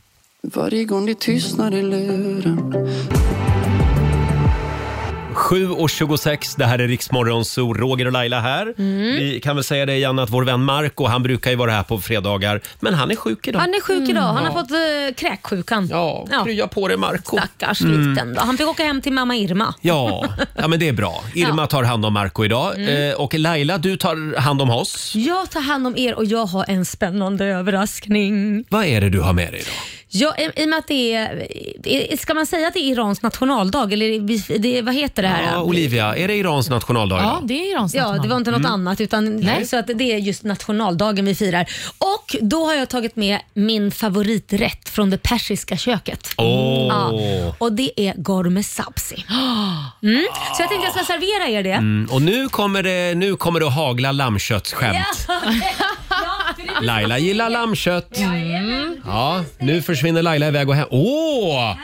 S17: Varje gång det tystnar i luren
S1: 7.26, det här är Riksmorgon, så Roger och Laila här.
S2: Mm.
S1: Vi kan väl säga det igen att vår vän Marco, han brukar ju vara här på fredagar, men han är sjuk idag.
S2: Han är sjuk idag. Han
S1: Ja.
S2: har fått uh, kräksjukan.
S1: Mm. Ja, krya på det Marco.
S2: Stackars
S1: Mm.
S2: liten då. Han fick åka hem till mamma Irma.
S1: Ja, ja, men det
S2: [LAUGHS]
S1: är bra. Irma
S2: Ja.
S1: tar hand om Marco idag
S2: Mm.
S1: eh, och Laila, du tar hand om oss.
S2: Jag tar hand om er och jag har en spännande överraskning.
S1: Vad är det du har med dig idag?
S2: Ja, i, I och med att det är... i- Ska man säga att det är Irans nationaldag? Eller det, det, vad heter det här?
S1: Ja, Olivia, är det Irans nationaldag idag?
S2: det är Irans Ja, det var inte något
S1: Mm.
S2: annat. Utan,
S1: Nej.
S2: Så att det är just nationaldagen vi firar. Och då har jag tagit med min favoriträtt från det persiska köket.
S1: Åh.
S2: Ja, och det är gorme [GASPS] sabzi. Mm. Så jag tänkte jag ska servera er [LAUGHS] det.
S1: Mm, och nu kommer, det, nu kommer det att hagla lammköttsskämt. Laila gillar lammkött.
S2: Mm.
S1: Ja, nu försvinner Laila iväg och hem. Åh!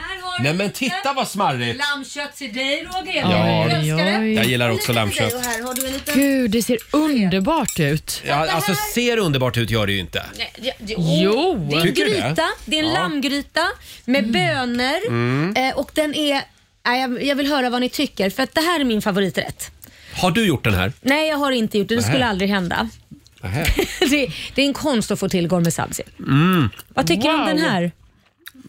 S1: Nej men titta vad
S2: Mm.
S1: smarrigt!
S2: Lammkött till dig Roger.
S1: Ja,
S2: Jag älskar det.
S1: jag gillar också lammkött.
S2: Och här har du en liten...
S3: Gud, det ser underbart ut.
S1: Ja, alltså ser underbart ut gör det ju inte.
S2: Nej, ja, det-
S3: Jo.
S2: Det är en
S1: Tycker du det?
S2: gryta, det är en
S1: Ja.
S2: lammgryta med bönor
S1: Mm.
S2: eh, och den är... Nej, jag- jag vill höra vad ni tycker för att det här är min favoriträtt.
S1: Har du gjort den här?
S2: Nej, jag har inte gjort det. Det
S1: Nähä.
S2: skulle aldrig hända. [LAUGHS]
S1: Nähä.
S2: det, det är en konst att få till gorme sabzi.
S1: Mm.
S2: Vad tycker du om den här?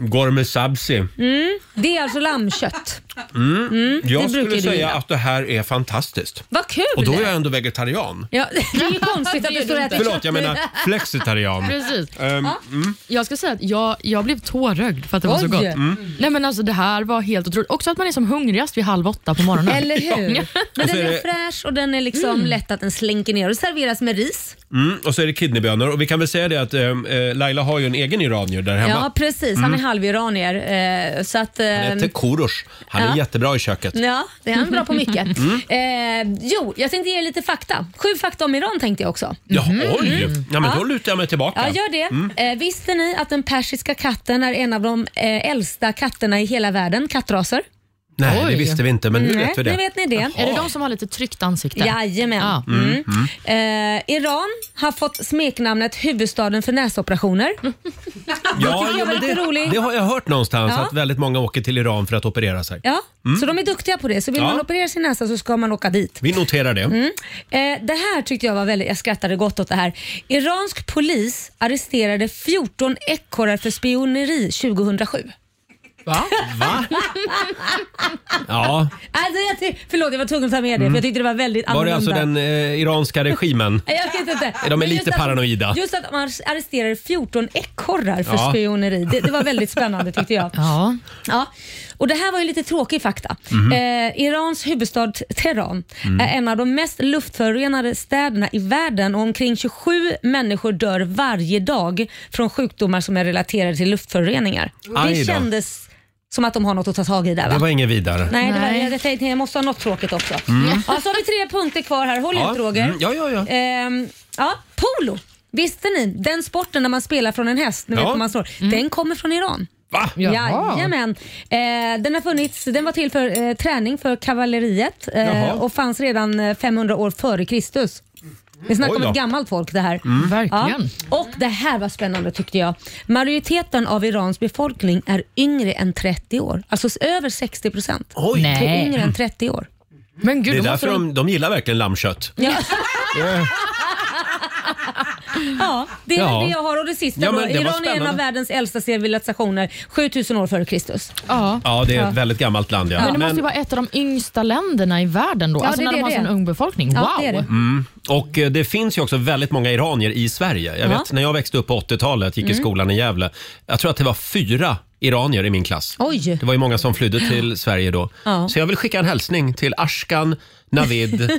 S1: Gorme sabzi.
S2: Mm, det är alltså
S3: [LAUGHS]
S2: lammkött.
S1: Mm.
S2: Mm, det
S1: Jag
S2: brukar
S1: skulle
S2: du
S1: säga
S2: gilla.
S1: att det här är fantastiskt.
S2: Vad kul!
S1: Och då är jag ändå vegetarian.
S2: ja, det är ju konstigt att du står och äter
S1: Förlåt, jag menar
S2: [LAUGHS]
S1: flexitarian.
S3: Precis.
S1: Ehm,
S3: Ja.
S1: mm.
S3: Jag ska säga att jag, jag blev tårögd för att det var så
S1: Oj.
S3: gott.
S1: Mm.
S3: Nej, men alltså, det här var helt otroligt. Också att man är som hungrigast vid halv åtta på morgonen.
S2: Eller
S3: [LAUGHS] Ja.
S2: hur? Men
S1: Och så
S2: den
S1: är
S2: är
S1: det-
S2: fräsch och den är liksom
S3: Mm.
S2: lätt att den slinker ner och serveras med ris.
S1: Mm, och så är det kidneybönor. Och vi kan väl säga det att ehm, eh, Laila har ju en egen iranier där hemma.
S2: Ja, precis. Han är
S1: Mm.
S2: halviranier. Eh, så att, eh,
S1: Han heter Korosh. Han är
S2: Ja.
S1: jättebra i köket.
S2: Ja, det är han bra på mycket.
S1: Mm.
S2: Eh, jo, jag tänkte ge er lite fakta. Sju fakta om Iran tänkte jag också.
S1: Ja, oj!
S2: Mm.
S1: Ja, men
S2: Ja.
S1: då lutar jag mig tillbaka.
S2: Ja, gör det.
S1: Mm.
S2: Eh, visste ni att den persiska katten är en av de eh, äldsta katterna i hela världen, kattraser?
S1: Nej, det visste vi inte, men nu
S2: Nej,
S1: vet vi det.
S2: nu vet ni det.
S1: Jaha.
S3: Är det de som har lite tryckt ansikte?
S2: Jajamän.
S3: Ja.
S1: Mm. Mm.
S2: Eh, Iran har fått smeknamnet huvudstaden för näsoperationer.
S1: Ja,
S2: tycker jag
S1: ja,
S2: var
S1: men
S2: lite
S1: det,
S2: rolig.
S1: det har jag hört någonstans
S2: Ja.
S1: att väldigt många åker till Iran för att operera sig.
S2: Ja,
S1: Mm.
S2: så de är duktiga på det. Så vill
S1: Ja.
S2: man operera sin näsa så ska man åka dit.
S1: Vi noterar det.
S2: Mm. Eh, det här tyckte jag var väldigt, jag skrattade gott åt det här. Iransk polis arresterade 14 ekorrar för spioneri 2007.
S1: Va? Va? Ja,
S2: Alltså, jag ty- förlåt, jag var tvungen att ta med det för jag tyckte det var väldigt
S1: Mm. var det
S2: annorlunda.
S1: alltså den eh, iranska
S2: [LAUGHS]
S1: regimen?
S2: Nej, Jag vet inte.
S1: De är
S2: Men
S1: lite
S2: just att-
S1: paranoida.
S2: Just att man arresterade 14 ekorrar för
S1: Ja.
S2: spioneri. Det, det var väldigt spännande tyckte jag.
S3: Ja.
S2: Ja. Och Det här var ju lite tråkig fakta.
S3: Mhm.
S2: Eh, Irans huvudstad Teheran
S3: Mm.
S2: är en av de mest luftförorenade städerna i världen och omkring 27 människor dör varje dag från sjukdomar som är relaterade till luftföroreningar.
S1: Aj då.
S2: Det kändes som att de har något att ta tag i där va?
S1: Det var inget vidare.
S2: Nej, det var,
S1: Nej.
S2: jag, jag tänkte jag måste ha något tråkigt också.
S1: Mm.
S2: Ja, så har vi tre punkter kvar här. Håll
S1: Ja,
S2: ut Roger.
S1: mm, ja, ja, ja.
S2: Ehm, ja, polo. Visste ni? Den sporten när man spelar från en häst, nu
S1: Ja.
S2: vet man slår, den kommer från Iran.
S1: Va?
S2: Jaha. Jajamän. Eh, den, har funnits, den var till för eh, träning för kavalleriet
S1: Jaha.
S2: eh, och fanns redan eh, 500 år före Kristus. Vi snackar
S1: Oj
S2: om
S1: då.
S2: ett gammalt folk det här.
S1: Mm.
S3: Verkligen.
S2: Ja. Och det här var spännande tyckte jag. Majoriteten av Irans befolkning är yngre än 30 år. Alltså s- över 60 procent.
S1: Oj. Nej.
S2: Yngre än 30 år.
S3: Men
S1: Det
S2: då
S1: är
S2: måste
S1: därför
S2: de-
S1: de, de gillar verkligen lammkött.
S2: Ja. [LAUGHS]
S1: Eh,
S2: Ja, det är
S1: Ja.
S2: det jag har. Och det sista
S1: Ja,
S2: då.
S1: men det var
S2: Iran är en
S1: spännande.
S2: av världens äldsta civilisationer, 7000 år före Kristus.
S3: Ja.
S1: Ja, det är
S3: Ja.
S1: ett väldigt gammalt land. Ja.
S3: Men det måste ju vara ett av de yngsta länderna i världen då.
S2: Ja,
S3: alltså
S2: det är
S3: när de
S2: det
S3: har
S2: det
S3: sån
S2: är.
S3: ung befolkning.
S2: Ja,
S3: wow!
S2: det är det.
S1: Mm. Och eh, det finns ju också väldigt många iranier i Sverige. Jag
S3: Ja.
S1: vet när jag växte upp på 80-talet, gick i
S3: Mm.
S1: skolan i Gävle. Jag tror att det var fyra iranier i min klass.
S7: Oj.
S1: Det var ju många som flydde till Sverige då.
S7: Ja.
S1: Så jag vill skicka en hälsning till Ashkan Navid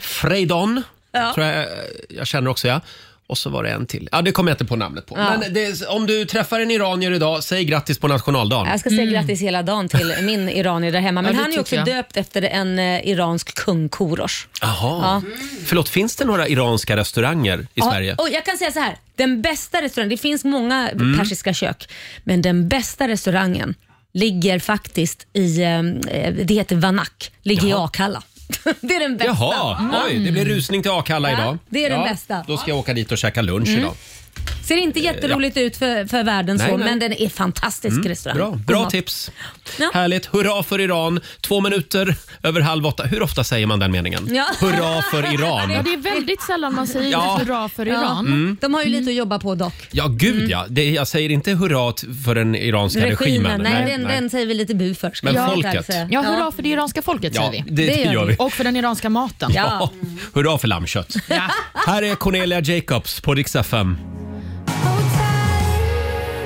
S1: Freidon.
S7: Ja.
S1: Tror jag, eh, jag känner också ja. Och så var det en till. Ja, det kommer jag inte på namnet på.
S2: Ja.
S1: Men det, om du träffar en iranier idag, säg grattis på nationaldagen.
S2: Jag ska
S3: Mm.
S2: säga grattis hela dagen
S3: [LAUGHS]
S2: till min iranier där hemma. Men
S1: Ja, det
S2: han är ju också
S1: tycker jag.
S2: döpt efter en eh, iransk kung, Korosh.
S1: Jaha. Förlåt, finns det några iranska restauranger i
S2: Ja,
S1: Sverige?
S2: Och jag kan säga så här, den bästa restaurangen, det finns många
S1: Mm.
S2: persiska kök, men den bästa restaurangen ligger faktiskt i, eh, det heter Vanak, ligger i Akalla. [LAUGHS] det är den bästa. Mm.
S1: Jaha, oj, det blir rusning till Akalla
S2: Ja,
S1: idag.
S2: det är den bästa.
S1: Då ska jag åka dit och käka lunch
S2: Mm.
S1: idag.
S2: Ser inte jätteroligt ut för, för världen
S1: Eh, Nej,
S2: så,
S1: nej.
S2: men den är fantastisk
S1: Mm,
S2: restaurang.
S1: Bra,
S2: God
S1: bra
S2: mat.
S1: tips. Härligt. Hurra för Iran. Två minuter över halv åtta. Hur ofta säger man den meningen?
S2: Ja.
S1: Hurra för
S2: [LAUGHS]
S3: Ja,
S1: Iran.
S3: det är väldigt sällan man säger
S1: Ja.
S3: hurra för
S2: Ja.
S3: Iran.
S1: Mm.
S2: De har ju lite att jobba på dock.
S1: Ja, gud
S2: Mm.
S1: ja. Det, jag säger inte hurra t- för den iranska regimen.
S2: nej, den, den säger vi lite bu för. ska
S1: Men
S2: jag
S1: folket.
S2: där säga.
S3: Ja, hurra för det iranska folket
S1: Ja,
S3: säger vi.
S1: det- det gör vi.
S3: Och för den iranska maten.
S1: Ja. Hurra för lammkött. Här är Cornelia Jacobs på Rix FM.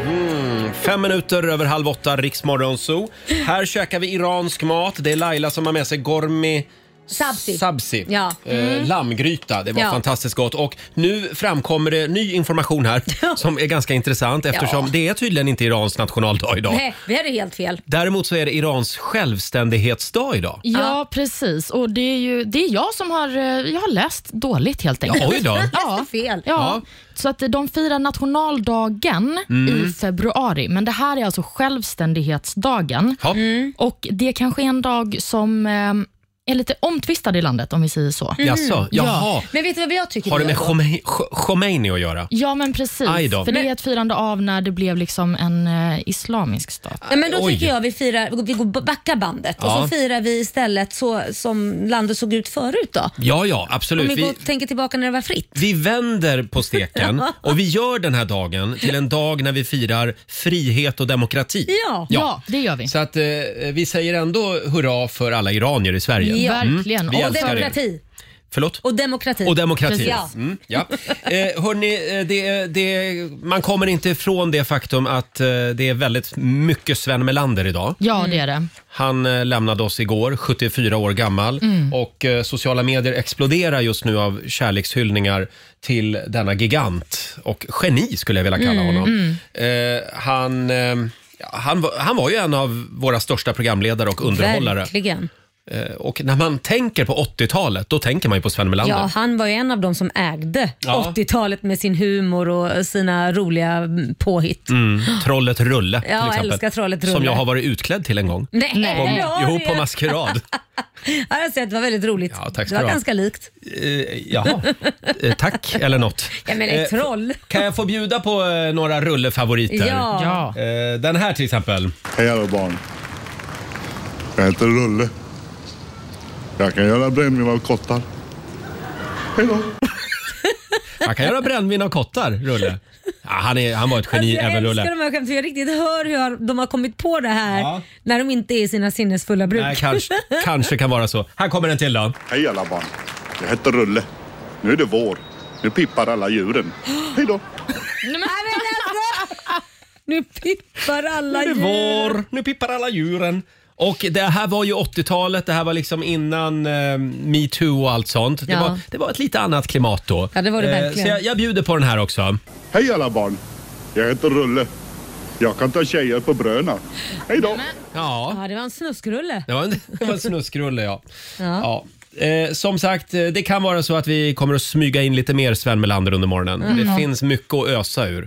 S1: Mm, Fem minuter över halv åtta, Riksmorgon Zoo. Här käkar vi iransk mat. Det är Laila som har med sig gormi
S2: Sabzi.
S1: sabzi.
S2: Ja. Mm.
S1: Eh, lammgryta. Det var
S2: Ja.
S1: fantastiskt gott. Och nu framkommer det ny information här som är ganska intressant eftersom
S2: Ja.
S1: det är tydligen inte Irans nationaldag idag.
S2: Nej, vi hade helt fel.
S1: Däremot så är det Irans självständighetsdag idag.
S3: Ja, precis. Och det är ju det är jag som har, eh, jag har läst dåligt helt enkelt.
S1: oj då.
S3: [LAUGHS] Ja,
S2: fel.
S3: Ja. Så att eh, de firar nationaldagen
S1: Mm.
S3: i februari, men det här är alltså självständighetsdagen.
S1: Ja.
S2: Mm.
S3: Och Det kanske är en dag som eh, är lite omtvistad i landet, om vi säger så.
S1: Mhm. Jaså, jaha.
S2: Mm. Men vet du vad jag tycker?
S1: Har det
S2: vi
S1: med
S2: gör då?
S1: Khomeini, Kh- Khomeini att göra?
S3: Ja, men precis.
S1: Aj då.
S3: För det
S1: Men-
S3: är ett firande av när det blev liksom en eh, islamisk stat.
S2: Nej, men då
S3: Oj.
S2: tycker jag vi firar, vi går backar bandet
S1: Ja.
S2: och så firar vi istället så som landet såg ut förut då.
S1: Ja, ja,
S2: Om
S1: absolut.
S2: vi
S1: Vi,
S2: går, tänker tillbaka när det var fritt.
S1: vi vänder på steken
S2: [LAUGHS] Ja.
S1: och vi gör den här dagen till en dag när vi firar frihet och demokrati.
S2: Ja. Ja,
S3: det gör vi.
S1: Så att eh, vi säger ändå hurra för alla iranier i Sverige. Mm, Vi
S2: Och
S1: älskar er.
S2: demokrati.
S1: Förlåt?
S2: Och demokrati.
S1: Och demokrati.
S2: Ja.
S1: Mm, ja. Eh, hörni, eh, det, det, man kommer inte ifrån det faktum att eh, det är väldigt mycket Sven Melander idag.
S3: Ja, det är det.
S1: Han eh, lämnade oss igår, 74 år gammal.
S3: Mm.
S1: Och eh, sociala medier exploderar just nu av kärlekshyllningar till denna gigant och geni skulle jag vilja kalla
S3: Mm,
S1: [GASPS] honom. Eh, han, eh, ja, han, var- han var ju en av våra största programledare och underhållare.
S2: Verkligen.
S1: Eh, och när man tänker på 80-talet, då tänker man ju på Sven Melander.
S2: Ja, han var ju en av de som ägde
S1: Ja.
S2: 80-talet med sin humor och sina roliga mm, påhitt.
S1: Mm, trollet Rulle
S2: Ja,
S1: till exempel.
S2: älskar Trollet Rulle.
S1: Som jag har varit utklädd till en gång.
S2: Nej,
S1: på,
S2: det har
S1: ihop
S2: du
S1: på
S2: ju. [LAUGHS]
S1: maskerad.
S2: Ja, det har jag sett, det var väldigt roligt.
S1: Ja, tack
S2: det
S1: ska
S2: var
S1: du ha.
S2: ganska likt.
S1: Eh, jaha, eh, tack
S2: [LAUGHS]
S1: eller något.
S2: Jag menar ett
S1: Eh,
S2: troll.
S1: Kan jag få bjuda på eh, några rullefavoriter?
S2: Ja.
S1: Eh, Den här
S2: [LAUGHS]
S1: till exempel.
S9: Hej alla barn. Jag heter Rulle. Jag kan göra brännvin av kottar. Hej då.
S1: Jag kan göra brännvin av kottar, Rulle. Ja, han, är, han var ett
S2: [LAUGHS]
S1: geni,
S2: Alltså, jag
S1: även
S2: älskar
S1: Rulle.
S2: de här skämten. Jag riktigt hör hur jag- de har kommit på det här när de inte är i sina sinnesfulla bruk.
S1: Nej, kanske,
S2: [LAUGHS]
S1: kanske kan vara så. Alltså, Här kommer en till då.
S9: Hej alla barn. Jag heter Rulle. Nu är det vår. Nu pippar alla djuren. Hej då.
S2: Nej, men alltså! Nu pippar
S1: Nu
S2: alla
S1: är det
S2: djur.
S1: vår, nu pippar alla djuren. Och det här var ju 80-talet, det här var liksom innan eh, metoo och allt sånt. Det,
S2: Ja.
S1: var, det var ett lite annat klimat då.
S2: Ja, det var det
S1: Eh,
S2: verkligen.
S1: Så jag, jag bjuder på den här också.
S9: Hej alla barn. Jag heter Rulle. Jag kan ta tjejer på bröna. Hej då.
S1: Ja.
S2: Ja, det var en snuskrulle.
S1: Det var en, [LAUGHS] det var en snuskrulle ja.
S2: Ja.
S1: ja. Eh, som sagt, eh, det kan vara så att vi kommer att smyga in lite mer Sven Melander under morgonen.
S2: Mm.
S1: Det finns mycket att ösa ur.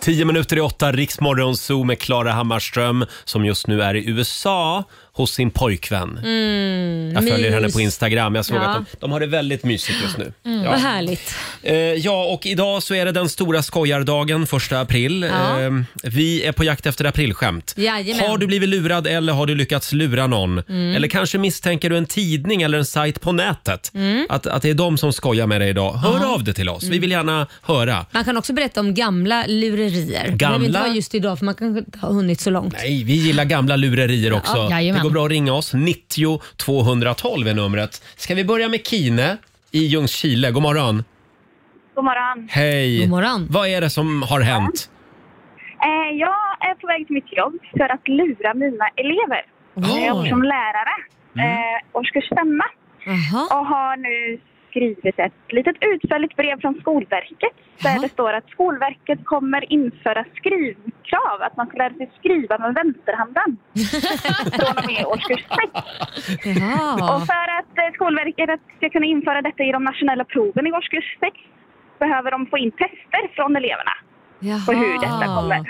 S1: Tio minuter i åtta, Riksmorgon Zoo med Klara Hammarström som just nu är i USA hos sin pojkvän.
S2: Mm,
S1: Jag följer
S2: mys.
S1: henne på Instagram. Jag såg
S2: Ja.
S1: att de, de har det väldigt mysigt just nu.
S2: Mm. Vad
S1: Ja.
S2: härligt.
S1: Eh, ja, och idag så är det den stora skojardagen, första april.
S2: Ja.
S1: Eh, vi är på jakt efter aprilskämt.
S2: Jajamän.
S1: Har du blivit lurad eller har du lyckats lura någon?
S2: Mm.
S1: Eller kanske misstänker du en tidning eller en sajt på nätet?
S2: Mm.
S1: Att, att det är de som skojar med dig idag. Hör av dig till oss. Vi vill gärna höra.
S2: Man kan också berätta om gamla lurerier. Det behöver inte
S1: Gamla?
S2: vara just idag för man kanske inte har hunnit så långt.
S1: Nej, vi gillar gamla lurerier också.
S2: Ja,
S1: det
S2: jajamän.
S1: går bra att ringa oss. 90 212 är numret. Ska vi börja med Kine i Ljungskile? God morgon.
S16: God morgon.
S1: Hej!
S2: God morgon.
S1: Vad är det som har hänt?
S16: Eh, jag är på väg till mitt jobb för att lura mina elever. Jag jobbar som lärare, eh, årskurs 5. Och har nu skrivit ett litet utförligt brev från Skolverket där det står att Skolverket kommer införa skrivkrav, att man ska lära sig skriva med vänsterhanden från och med årskurs 6. Och för att eh, Skolverket ska kunna införa detta i de nationella proven i årskurs 6 behöver de få in tester från eleverna på hur detta kommer.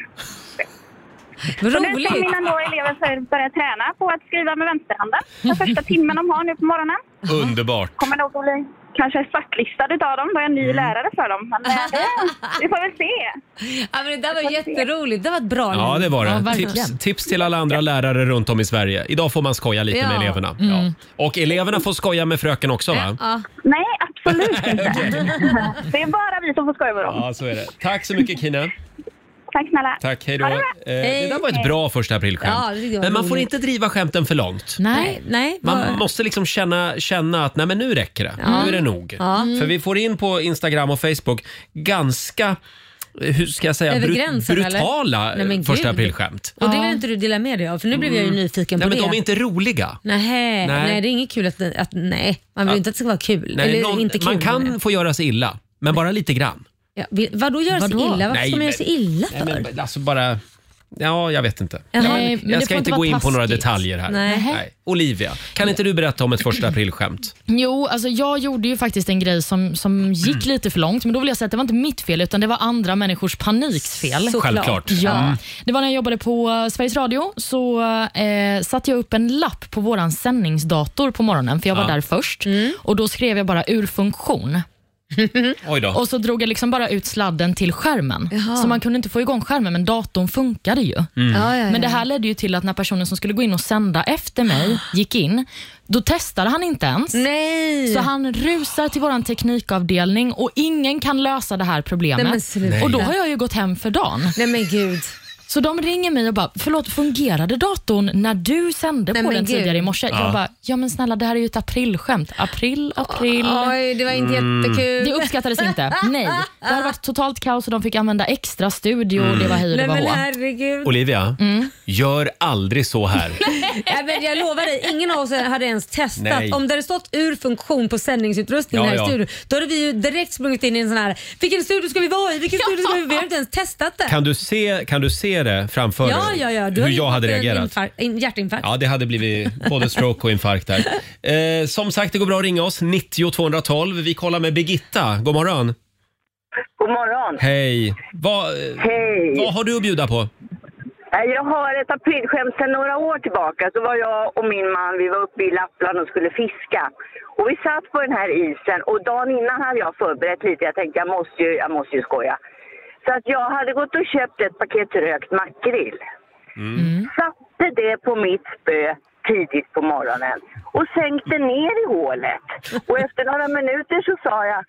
S2: Vad
S16: Så nu ska
S2: roligt.
S16: mina då elever för- börja träna på att skriva med vänsterhanden den första timmen de har nu på morgonen.
S1: Underbart.
S16: Kommer nog att bli kanske svartlistad utav dem, då är jag
S1: Mm.
S16: ny lärare för dem. Men eh,
S2: [LAUGHS]
S16: det- vi får väl se.
S2: Ja, men det där var jätteroligt. Det var ett bra
S1: Ja,
S2: liv.
S1: det var det.
S2: verkligen.
S1: tips, tips till alla andra lärare runt om i Sverige. Idag får man skoja lite
S2: Ja. Mm.
S1: med eleverna. Ja. Och eleverna får skoja med fröken också, va?
S16: Nej,
S1: [LAUGHS]
S16: absolut inte. det är bara vi som får skoja med dem.
S1: Ja, så är det. Tack så mycket, Kina.
S16: Tack snälla.
S1: Tack, hej då.
S16: Ha det
S1: Eh,
S16: bra.
S1: det där var ett
S16: Hej.
S1: bra första aprilskämt.
S16: Ja, det tyckte jag var
S1: Men man får
S16: roligt.
S1: inte driva skämten för långt.
S2: Nej, nej.
S1: Man
S2: vad-
S1: måste liksom känna, känna att nej men nu räcker det.
S2: Ja.
S1: Nu är det nog.
S2: Ja. Mm.
S1: För vi får in på Instagram och Facebook ganska, eh, hur ska jag säga,
S2: Över
S1: brut-
S2: gränsen, eller?
S1: brutala eh,
S2: Nej, men
S1: första
S2: gud.
S1: aprilskämt.
S2: Och det vill inte du dela med dig av för nu blev jag ju
S1: Mm.
S2: nyfiken
S1: Nej,
S2: på
S1: men
S2: det.
S1: de är inte roliga.
S2: Nej,
S1: Nej.
S2: nej. det är inget kul att, att nej. Man vill
S1: Att-
S2: inte att det ska vara kul.
S1: Nej,
S2: Eller
S1: någon-
S2: inte kul.
S1: man
S2: menar
S1: kan
S2: jag.
S1: få göra sig illa, men bara lite grann.
S2: Ja, vill- vadå göra sig
S3: Vadå?
S2: illa? Varför
S1: Nej,
S2: ska man göra
S1: men-
S2: sig illa
S1: Nej,
S2: för?
S1: men alltså bara... Ja, jag vet inte.
S2: Jaha.
S1: jag
S2: Nej, men
S1: jag
S3: det
S1: ska
S3: får inte
S1: inte gå
S3: vara
S1: in på några
S3: taskigt.
S1: detaljer här.
S3: Nej.
S1: Olivia, kan inte du berätta om ett första aprilskämt?
S3: Jo, alltså jag gjorde ju faktiskt en grej som, som gick
S1: Mm.
S3: lite för långt, men då vill jag säga att det var inte mitt fel, utan det var andra människors paniks fel.
S1: Såklart. Självklart.
S3: Ja.
S1: Mm.
S3: Det var när jag jobbade på eh, Sveriges Radio, så eh, satte jag upp en lapp på vår sändningsdator på morgonen, för jag var
S1: Ja.
S3: där först. Och Då skrev jag bara ur funktion.
S1: [LAUGHS] Oj då.
S3: Och så drog jag liksom bara ut sladden till skärmen.
S2: Jaha.
S3: Så man kunde inte få igång skärmen, men datorn funkade ju.
S2: Mm. Ja, ja, ja.
S3: Men det här ledde ju till att när personen som skulle gå in och sända efter mig gick in, då testade han inte ens.
S2: Nej.
S3: Så han rusar till vår teknikavdelning och ingen kan lösa det här problemet.
S2: Nej, men sluta.
S3: och då har jag ju gått hem för dagen.
S2: Nej men gud.
S3: Så de ringer mig och bara, förlåt fungerade datorn när du sände
S2: Nej,
S3: på
S2: men
S3: den
S2: gud.
S3: tidigare i morse?
S2: Ja.
S3: Jag bara, ja men snälla det här är ju ett aprilskämt. April, april.
S2: Oj, det var inte Mm. jättekul.
S3: Det uppskattades inte. Nej. Det hade varit totalt kaos och de fick använda extra studio och det var hej och det
S2: Nej
S3: var
S2: men
S3: hå.
S2: herregud.
S1: Olivia,
S3: Mm.
S1: gör aldrig så här.
S2: Nej, men jag lovar dig, ingen av oss hade ens testat.
S1: Nej.
S2: Om det hade stått ur funktion på sändningsutrustningen
S1: Ja,
S2: här
S1: ja.
S2: i studion, då hade vi ju direkt sprungit in i en sån här, vilken studio ska vi vara i? Vilken studio ska vi vara i? Vi har inte ens testat det.
S1: Kan du se, kan du se det framför
S2: ja,
S1: dig?
S2: ja, ja. Du
S1: hur
S2: har
S1: jag
S2: ju
S1: hade
S2: fått en
S1: reagerat?
S2: infar- en hjärtinfarkt.
S1: Ja, det hade blivit både stroke och infarkt där. Eh, som sagt, det går bra att ringa oss. 90 212. Vi kollar med Birgitta. God morgon.
S18: God morgon.
S1: Hej. Vad, eh,
S18: Hej.
S1: vad har du att bjuda på?
S18: Eh, Jag har ett aprilskämt sedan några år tillbaka. Så var jag och min man, vi var uppe i Lappland och skulle fiska. Och vi satt på den här isen och dagen innan hade jag förberett lite. Jag tänkte jag måste ju, jag måste ju skoja. Så att jag hade gått och köpt ett paket rökt makrill.
S2: Mm.
S18: Satte det på mitt spö tidigt på morgonen och sänkte ner i hålet. Och efter några minuter så sa jag,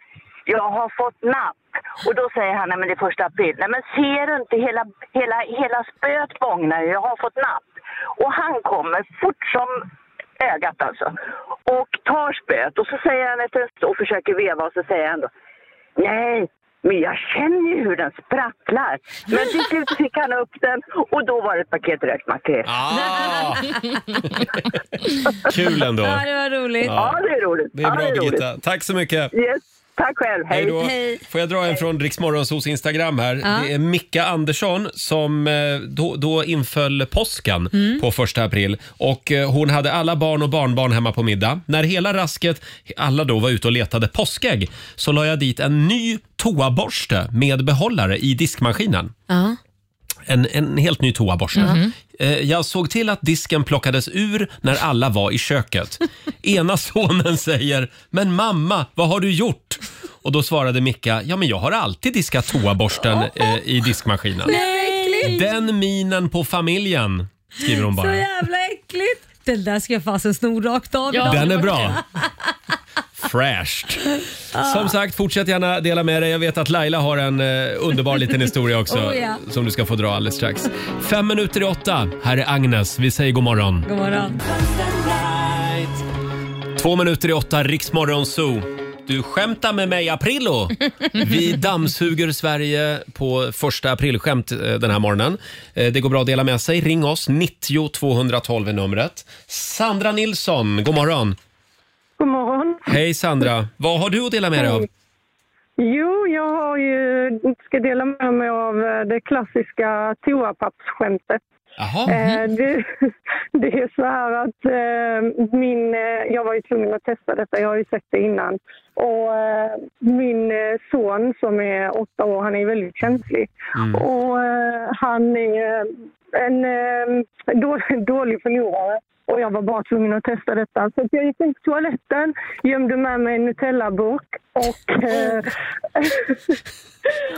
S18: jag har fått napp. Och då säger han, nej men det är första april. Nej men ser du inte, hela, hela, hela spöet bågnar ju. jag har fått napp. Och han kommer fort som ögat alltså. Och tar spöet och så säger han efter en stund och försöker veva och så säger han då, Nej, men jag känner ju hur den sprattlar. Men till slut fick han upp den och då var det ett paket rökt makrill.
S1: Ah,
S2: [LAUGHS]
S1: Kul ändå.
S2: Ja, det var roligt.
S18: Ja, det är roligt.
S1: Det är bra
S18: ja,
S1: Birgitta. Tack så mycket.
S18: Yes. Tack själv.
S1: Hej
S18: Hej.
S1: då. Får jag dra en från Riksmorgonsos Instagram här.
S18: Ja.
S1: Det är Micka Andersson som eh, då, då inföll påsken
S18: Mm.
S1: på första april. Och eh, hon hade alla barn och barnbarn hemma på middag. När hela rasket, alla då var ute och letade påskägg, så la jag dit en ny toaborste med behållare i diskmaskinen.
S2: Ja.
S1: En, en helt ny toaborste.
S2: Mhm.
S1: Eh, Jag såg till att disken plockades ur när alla var i köket. Ena sonen säger “Men mamma, vad har du gjort?” Och då svarade Micka “Ja, men jag har alltid diskat toaborsten eh, i diskmaskinen”.
S2: Nej!
S1: Den minen på familjen, skriver hon
S2: Så
S1: bara.
S2: jävla äckligt. Den där ska jag fasen sno rakt av.
S1: Den är bra. Fräscht. Som sagt, fortsätt gärna dela med dig. Jag vet att Laila har en eh, underbar
S2: [LAUGHS]
S1: liten historia också
S2: Oh, ja.
S1: som du ska få dra alldeles strax. Fem minuter i åtta. Här är Agnes. Vi säger god morgon.
S3: [LAUGHS]
S2: God morgon.
S1: Två minuter i åtta, Riksmorgon Zoo. Du skämtar med
S2: [LAUGHS]
S1: mig Aprillo. Vi dammsuger Sverige på första aprilskämt eh, den här morgonen. Eh, Det går bra att dela med sig. Ring oss, 90 212 är numret. Sandra Nilsson, god morgon.
S19: God morgon.
S1: Hej Sandra, vad har du att dela med dig av?
S19: Jo, jag har ju, ska dela med mig av eh, det klassiska toapappsskämtet. Eh, Det, [LAUGHS] det är så här att eh, min, eh, jag var ju tvungen att testa detta, jag har ju sett det innan. Och eh, min eh, son som är åtta år, han är väldigt känslig.
S20: Mm.
S19: Och eh, han är eh, en eh, då, dålig förlorare. Och jag var bara tvungen att testa detta. Så att jag gick in på toaletten, gömde med mig en Nutella-burk och eh,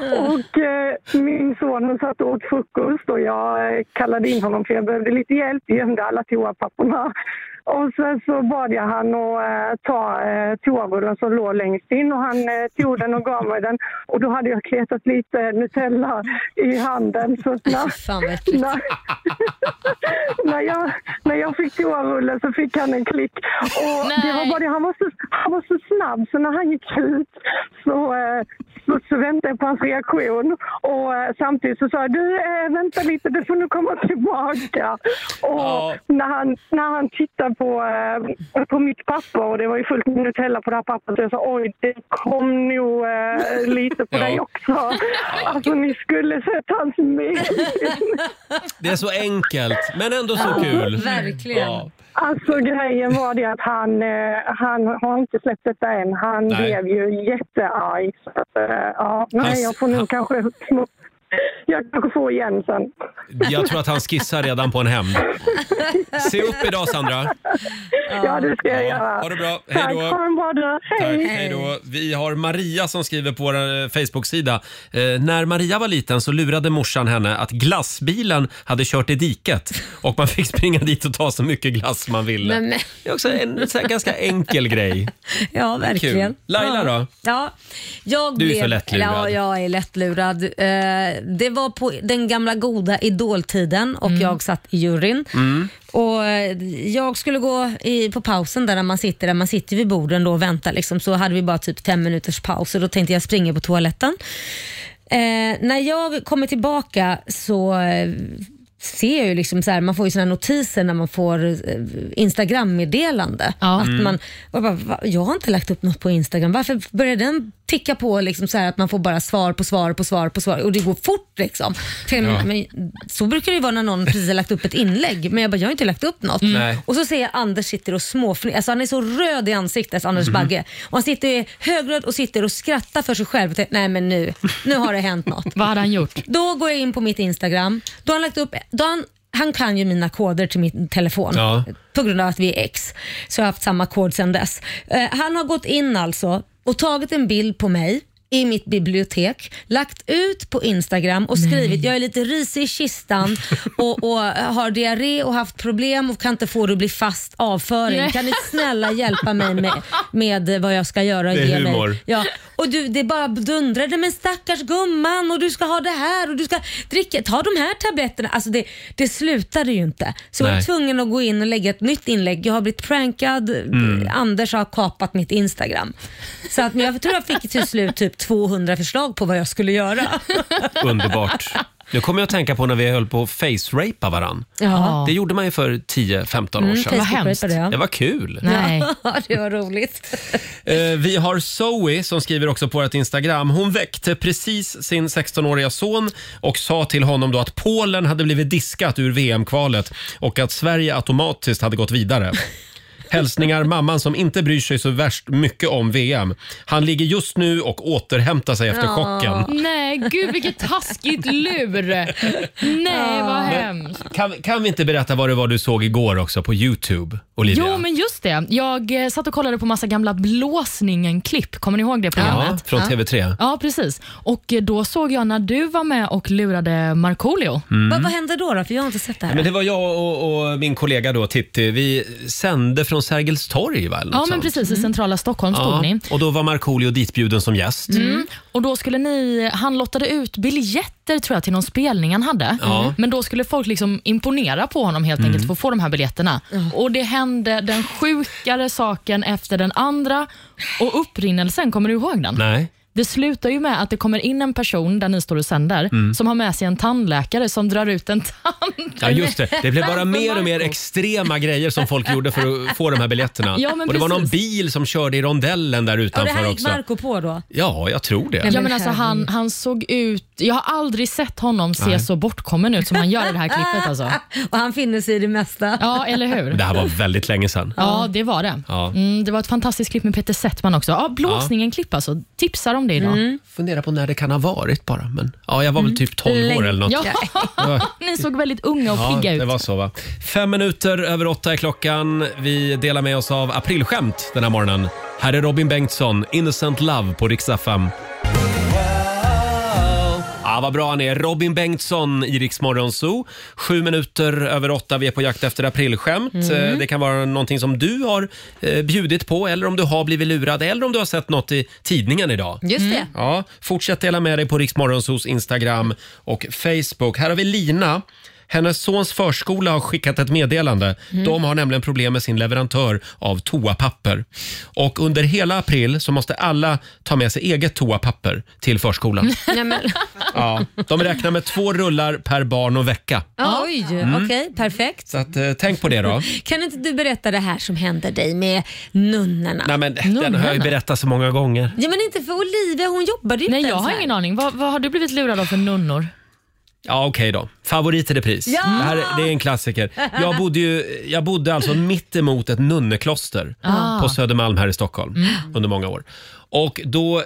S19: och eh, min son han satt och åt frukost och jag eh, kallade in honom för jag behövde lite hjälp. Jag gömde alla toapapperna. [LAUGHS] Och sen så bad jag han att eh, ta eh, toarullen som låg längst in och han eh, tog den och gav mig den. Och då hade jag kletat lite Nutella i handen. Så att
S2: Fan, vad
S19: när, när, när, jag, när jag fick toarullen så fick han en klick. Och det var bara det, han, var så, han var så snabb så när han gick ut så, eh, så, så väntade jag på hans reaktion. Och eh, samtidigt så sa jag du eh, vänta lite, du får nu komma tillbaka. Och när, han, när han tittade på, eh, på mitt papper och det var ju fullt med Nutella på det här pappret så jag sa oj det kom nog eh, lite på
S1: Ja.
S19: dig också. Alltså ni skulle sett hans min.
S1: Det är så enkelt, men ändå så
S19: Ja,
S1: kul.
S19: verkligen.
S1: Ja.
S19: Alltså grejen var det att han, eh, han har inte släppt detta än. Han
S1: Nej.
S19: blev ju jättearg. Så, att, eh, ja, nej,
S1: Hans-
S19: jag får nog kanske... små- Jag kanske får igen sen.
S1: Jag tror att han skissar redan på en hämnd. Se upp idag Sandra.
S19: Ja, det ska jag göra.
S1: Ha det bra. Hej
S19: Tack,
S1: då.
S19: ha en bra dag. Hej!
S1: Hej då. Vi har Maria som skriver på vår eh, Facebook-sida. Eh, när Maria var liten så lurade morsan henne att glassbilen hade kört i diket och man fick springa dit och ta så mycket glass man ville.
S2: Men- men-
S1: Det är också en så här, ganska enkel grej.
S2: Ja,
S1: Det är kul.
S2: verkligen.
S1: Laila
S2: ja.
S1: då?
S2: Ja, jag
S1: Du är
S2: blev,
S1: så lättlurad.
S2: Ja, jag är lättlurad. Eh, det var på den gamla goda idoltiden och
S1: Mm.
S2: jag satt i juryn.
S20: Mm.
S2: Och eh, jag skulle gå i, på pausen där man sitter, där man sitter vid borden då och väntar. Liksom, så hade vi bara typ 10 minuters paus och då tänkte jag springa på toaletten. Eh, när jag kommer tillbaka så eh, ser jag ju liksom så här, man får ju såna här notiser när man får eh, Instagram-meddelande. Att
S20: Mm.
S2: man, och jag, bara, "Va? jag har inte lagt upp något på Instagram. Varför börjar den ticka på liksom så här att man får bara svar på svar på svar på svar och det går fort liksom. Tänker jag,
S20: Ja.
S2: Men, så brukar det ju vara när någon precis har lagt upp ett inlägg men jag bara, jag har inte lagt upp något.
S20: Mm. Nej.
S2: Och så ser jag Anders sitter och småfnissar, alltså han är så röd i ansiktet, Anders
S20: Mhm.
S2: Bagge. Och han sitter och är högröd och sitter och skrattar för sig själv. Och tänker, Nej men nu, nu har det hänt
S20: [LAUGHS]
S2: något.
S3: Vad hade han gjort?
S2: Då går jag in på mitt Instagram. Då har han lagt upp, då har han, han kan ju mina koder till min telefon
S20: Ja.
S2: på grund av att vi är ex. Så jag har haft samma kod sedan dess. Eh, han har gått in alltså och tagit en bild på mig i mitt bibliotek, lagt ut på Instagram och skrivit jag är lite risig i kistan och, och har diarré och haft problem och kan inte få det att bli fast avföring.
S20: Nej.
S2: Kan ni snälla hjälpa mig med, med vad jag ska göra? och
S20: Det är
S2: ge mig-
S20: humor.
S2: Ja, och du, det bara dundrade men stackars gumman och du ska ha det här och du ska dricka, ta de här tabletterna. Alltså det, det slutade ju inte. Så jag var
S20: Nej.
S2: tvungen att gå in och lägga ett nytt inlägg. Jag har blivit prankad,
S20: Mm.
S2: Anders har kapat mitt Instagram. Så att, men jag tror jag fick till slut typ 200 förslag på vad jag skulle göra.
S1: Underbart. Nu kommer jag att tänka på när vi höll på att face-rapa varann.
S2: Ja.
S1: Det gjorde man ju för 10-15 år
S2: Mm,
S1: sedan.
S2: Facebook-rapade, ja.
S1: Det var kul.
S2: [LAUGHS] Ja, det var roligt.
S1: Eh, Vi har Zoe som skriver också på vårt Instagram. Hon väckte precis sin 16-åriga son och sa till honom då att Polen hade blivit diskat ur VM-kvalet och att Sverige automatiskt hade gått vidare. Hälsningar mamman som inte bryr sig så värst mycket om VM. Han ligger just nu och återhämtar sig efter chocken.
S3: Nej, gud vilket taskigt lur. Nej, vad hemskt.
S1: Kan, kan vi inte berätta vad det var du såg igår också på Youtube, Olivia?
S3: Jo, men just det. Jag eh, satt och kollade på massa gamla Blåsningen-klipp. Kommer ni ihåg det programmet?
S1: Ja, från TV3.
S3: Ja, precis. Och eh, då såg jag när du var med och lurade Markoolio.
S1: Mm. Vad- vad
S2: hände då, då? För jag har inte sett det
S1: Ja, Men det var jag och, och min kollega då, Titti. Vi sände från på Sergels torg va? Eller något
S3: Ja, men
S1: sånt?
S3: precis. I centrala Stockholm stod
S1: Ja,
S3: ni.
S1: och då var Markoolio ditbjuden som gäst.
S3: Mm. Och då skulle ni, han lottade ut biljetter tror jag till någon spelning han hade.
S1: Ja. Mm.
S3: Men då skulle folk liksom imponera på honom helt enkelt för att få de här biljetterna. Och Det hände den sjukare saken efter den andra. Och upprinnelsen, kommer du ihåg den?
S1: Nej.
S3: Det slutar ju med att det kommer in en person där ni står och sänder
S1: Mm.
S3: som har med sig en tandläkare som drar ut en tand. Alltså,
S1: Ja, just det.
S3: [LAUGHS]
S1: Det blev bara
S3: Framför
S1: mer och mer
S3: Marco.
S1: extrema grejer som folk gjorde för att få de här biljetterna.
S3: Ja, men
S1: och det var någon
S3: precis.
S1: bil som körde i rondellen där
S2: Ja, det
S1: utanför
S2: här gick
S1: också.
S2: Marco på då.
S1: Ja, jag tror det.
S3: Ja, men alltså, han, han såg ut... Jag har aldrig sett honom se
S1: Nej.
S3: så bortkommen ut som han gör i det här klippet. Alltså.
S2: [LAUGHS] Och han finner sig i det mesta.
S3: Ja, eller hur?
S1: Det här var väldigt länge sedan.
S3: Ja, det var det.
S1: Ja.
S3: Mm, det var ett fantastiskt klipp med Peter Settman också. Ja, Blåsningen-klipp alltså. Tipsar om det idag.
S2: Mm.
S1: Fundera på när det kan ha varit bara. Men, ja, jag var väl typ 12 år eller något.
S3: Ja,
S1: Ja.
S3: [LAUGHS] ni såg väldigt unga och pigga
S1: Ja,
S3: ut.
S1: det var så va. Fem minuter över åtta är klockan. Vi delar med oss av aprilskämt den här morgonen. Här är Robin Bengtsson, Innocent Love på Rix FM. Ja, vad bra han är. Robin Bengtsson i Rix Morgon Zoo. Sju minuter över åtta. Vi är på jakt efter aprilskämt.
S14: Mm.
S1: Eh, Det kan vara någonting som du har eh, bjudit på eller om du har blivit lurad eller om du har sett något i tidningen idag.
S2: Just det.
S1: Ja, fortsätt dela med dig på Riksmorgonsos Instagram och Facebook. Här har vi Lina. Hennes sons förskola har skickat ett meddelande.
S14: Mm.
S1: De har nämligen problem med sin leverantör av toapapper. Och under hela april så måste alla ta med sig eget toapapper
S2: [LAUGHS]
S1: till förskolan.
S2: Mm. Nej, men,
S1: Ja, de räknar med två rullar per barn och vecka.
S2: Ja, Oj,
S1: Mm.
S2: okej, perfekt.
S1: Så att, eh, tänk på det då.
S2: Kan inte du berätta det här som hände dig med nunnorna?
S1: Nej, men, den har jag ju berättat så många gånger.
S2: Ja, men inte för Olivia, hon jobbade ju
S3: Nej,
S2: inte
S3: jag
S2: ens
S3: har
S2: här.
S3: ingen aning. Vad, vad har du blivit lurad av för nunnor?
S1: Ja, okej då. Favorit i repris.
S3: Ja!
S1: Det, här, det är en klassiker. Jag bodde, ju, jag bodde alltså mitt emot ett nunnekloster
S14: Ah.
S1: på Södermalm här i Stockholm
S14: Mm.
S1: under många år. Och då eh,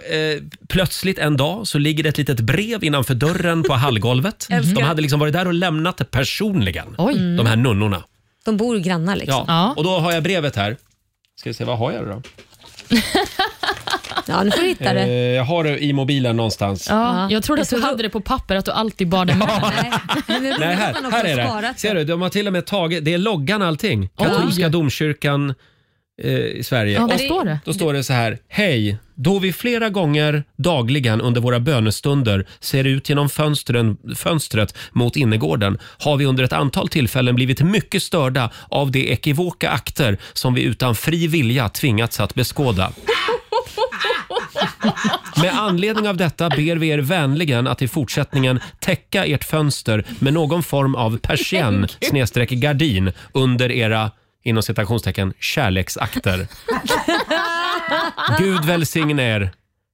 S1: plötsligt en dag så ligger det ett litet brev innanför dörren på hallgolvet.
S2: Älskar.
S1: De hade liksom varit där och lämnat det personligen,
S2: Oj.
S1: de här nunnorna.
S2: De bor ju grannar liksom.
S1: Ja. Och då har jag brevet här. Ska vi se, vad har jag det då?
S2: Ja, nu får du hitta
S1: Eh,
S2: det.
S1: jag har det i mobilen någonstans.
S3: Ja, jag trodde att du hade det på papper, att du alltid bar det med dig.
S1: Nej, här, här är det. Ser du, de har till och med tagit, det är loggan allting. Katolska domkyrkan eh, i Sverige.
S3: Ja, vad
S1: Och-
S3: står det?
S1: Då står det så här. Hej, då vi flera gånger dagligen under våra bönestunder ser ut genom fönstren, fönstret mot innergården har vi under ett antal tillfällen blivit mycket störda av de ekivoka akter som vi utan fri vilja tvingats att beskåda. Med anledning av detta ber vi er vänligen att i fortsättningen täcka ert fönster med någon form
S3: [LAUGHS]
S1: av persienn snedstreck gardin under era inom citationstecken kärleksakter. Gud välsigne er.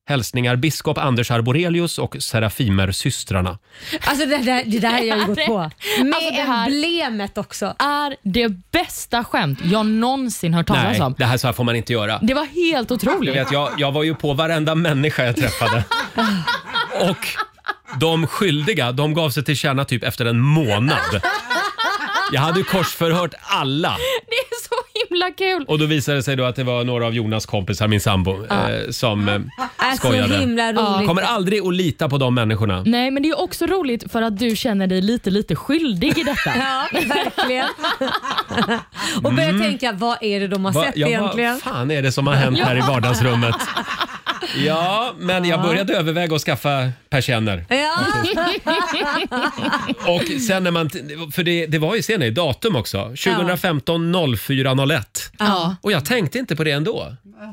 S1: Hälsningar biskop Anders Arborelius och Serafimer-systrarna.
S2: [LAUGHS] Alltså det där, det där har jag ju gått på.
S3: [LAUGHS]
S2: Med
S3: Alltså, det här-
S2: emblemet också.
S3: är det bästa skämt jag någonsin hört talas
S1: Nej,
S3: om.
S1: det här så här får man inte göra.
S3: Det var helt
S1: Du
S3: otroligt.
S1: vet, jag, jag var ju på varenda människa jag träffade. Och de skyldiga, de gav sig till känna typ efter
S3: [LAUGHS]
S1: en månad. Jag hade ju korsförhört alla.
S3: Det är så himla kul.
S1: Och då visade det sig då att det var några av Jonas kompisar, min sambo,
S3: Ja.
S1: eh, som eh,
S3: Är så
S1: skojade.
S3: himla roligt.
S1: Kommer aldrig att lita på de människorna.
S3: Nej, men det är också roligt för att du känner dig lite, lite skyldig i detta.
S2: [LAUGHS] Ja, verkligen. [LAUGHS] Och börja tänka, vad är det de har
S1: Va-
S2: sett
S1: ja,
S2: egentligen?
S1: Vad fan är det som har hänt här i
S2: Ja. [LAUGHS]
S1: vardagsrummet? Ja, men jag
S2: Ja.
S1: började överväga att skaffa persienner.
S2: [LAUGHS] Ja.
S1: [LAUGHS] Och sen när man, t- för det, det var ju, ser ni, datum också. 2015 0401.
S3: Ja.
S1: Och jag tänkte inte på det ändå.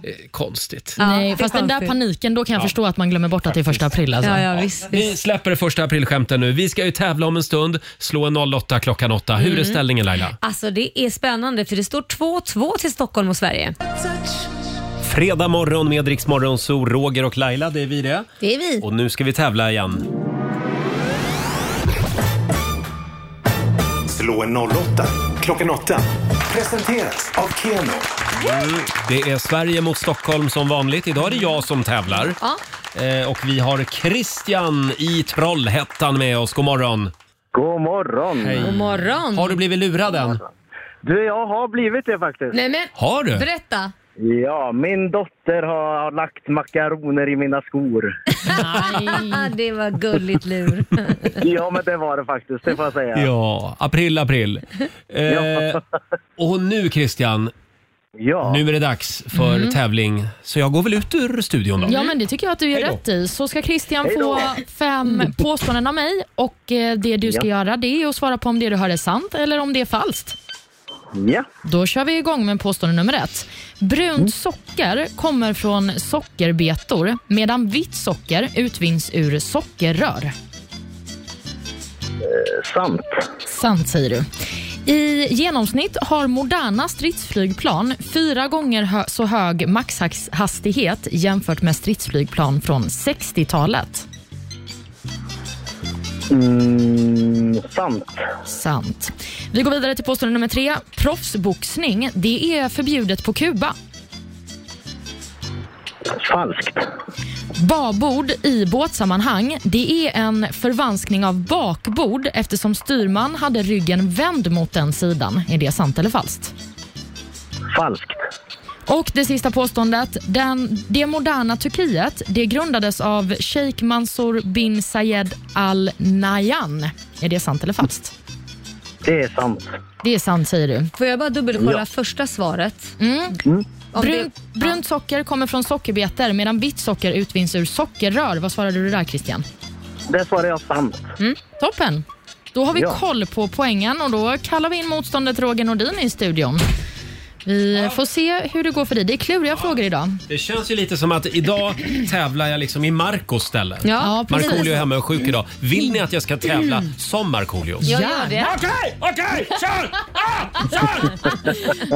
S1: Eh, Konstigt.
S3: Nej, fast den där paniken, då kan jag
S1: Ja.
S3: förstå att man glömmer bort att det är första april. Alltså.
S1: Vi släpper det första aprilskämten nu. Vi ska ju tävla om en stund. Slå en 08 klockan 8. Hur är
S2: Mm.
S1: ställningen Laila?
S2: Alltså det är spännande för det står 2-2 till Stockholm och Sverige.
S1: Fredag morgon med Rix Morgon, så Roger och Laila, det är vi det.
S2: Det är vi.
S1: Och nu ska vi tävla igen.
S14: Slå en 08 klockan 8. Presenteras av Keno.
S1: Mm. Det är Sverige mot Stockholm som vanligt. Idag är det jag som tävlar. Eh, och vi har Christian i Trollhättan med oss. God morgon!
S20: God morgon!
S1: Hej.
S2: God morgon!
S1: Har du blivit lurad än?
S20: Du, jag har blivit det faktiskt.
S2: Nej men,
S1: Har du?
S2: berätta.
S20: Ja, min dotter har, har lagt makaroner i mina
S3: [LAUGHS]
S20: skor.
S2: [LAUGHS] det var gulligt lur.
S20: ja, men det var det faktiskt, det får jag säga. [LAUGHS]
S1: Ja, april, april. Eh, och nu Christian,
S20: Ja.
S1: Nu är det dags för
S3: Mm.
S1: tävling, så jag går väl ut ur studion då.
S3: Ja, men det tycker jag att du gör rätt i. Så ska Christian få fem påståenden av mig och eh, det du ska göra det är att svara på om det du hör är sant eller om det är falskt.
S20: Ja.
S3: Då kör vi igång med påstående nummer ett. Brunt socker kommer från sockerbetor medan vitt socker utvinns ur sockerrör.
S20: Eh, sant.
S3: Sant säger du. I genomsnitt har moderna stridsflygplan fyra gånger hö- så hög maxhastighet jämfört med stridsflygplan från 60-talet.
S20: Mm, sant.
S3: Sant. Vi går vidare till påstående nummer tre. Proffsboxning, det är förbjudet på Kuba.
S20: Falskt.
S3: Babord i båtsammanhang, det är en förvanskning av bakbord eftersom styrman hade ryggen vänd mot den sidan. Är det sant eller falskt?
S20: Falskt.
S3: Och det sista påståendet. Den, det moderna Turkiet, det grundades av Sheikh Mansour bin Sayed Al Nahyan. Är det sant eller falskt?
S20: Det är sant.
S3: Det är sant säger du.
S2: Får jag bara dubbelkolla
S20: Ja.
S2: första svaret?
S3: Mm.
S2: Om
S3: Brun, brunt socker kommer från sockerbetor medan vitt socker utvinns ur sockerrör. Vad svarade du där Christian?
S20: Där svarar jag sant.
S3: Mm. Toppen! Då har vi
S20: Ja.
S3: koll på poängen och då kallar vi in motståndet Roger Nordin i studion. Vi får se hur det går för dig. Det är kluriga frågor idag.
S1: Det känns ju lite som att idag tävlar jag liksom i Marcos ställe.
S3: Ja, ja, precis. Mm.
S1: Markoolio är hemma och sjuk idag. Vill ni att jag ska tävla som Markoolio?
S3: Ja, gör det.
S11: Okej, okej, kör!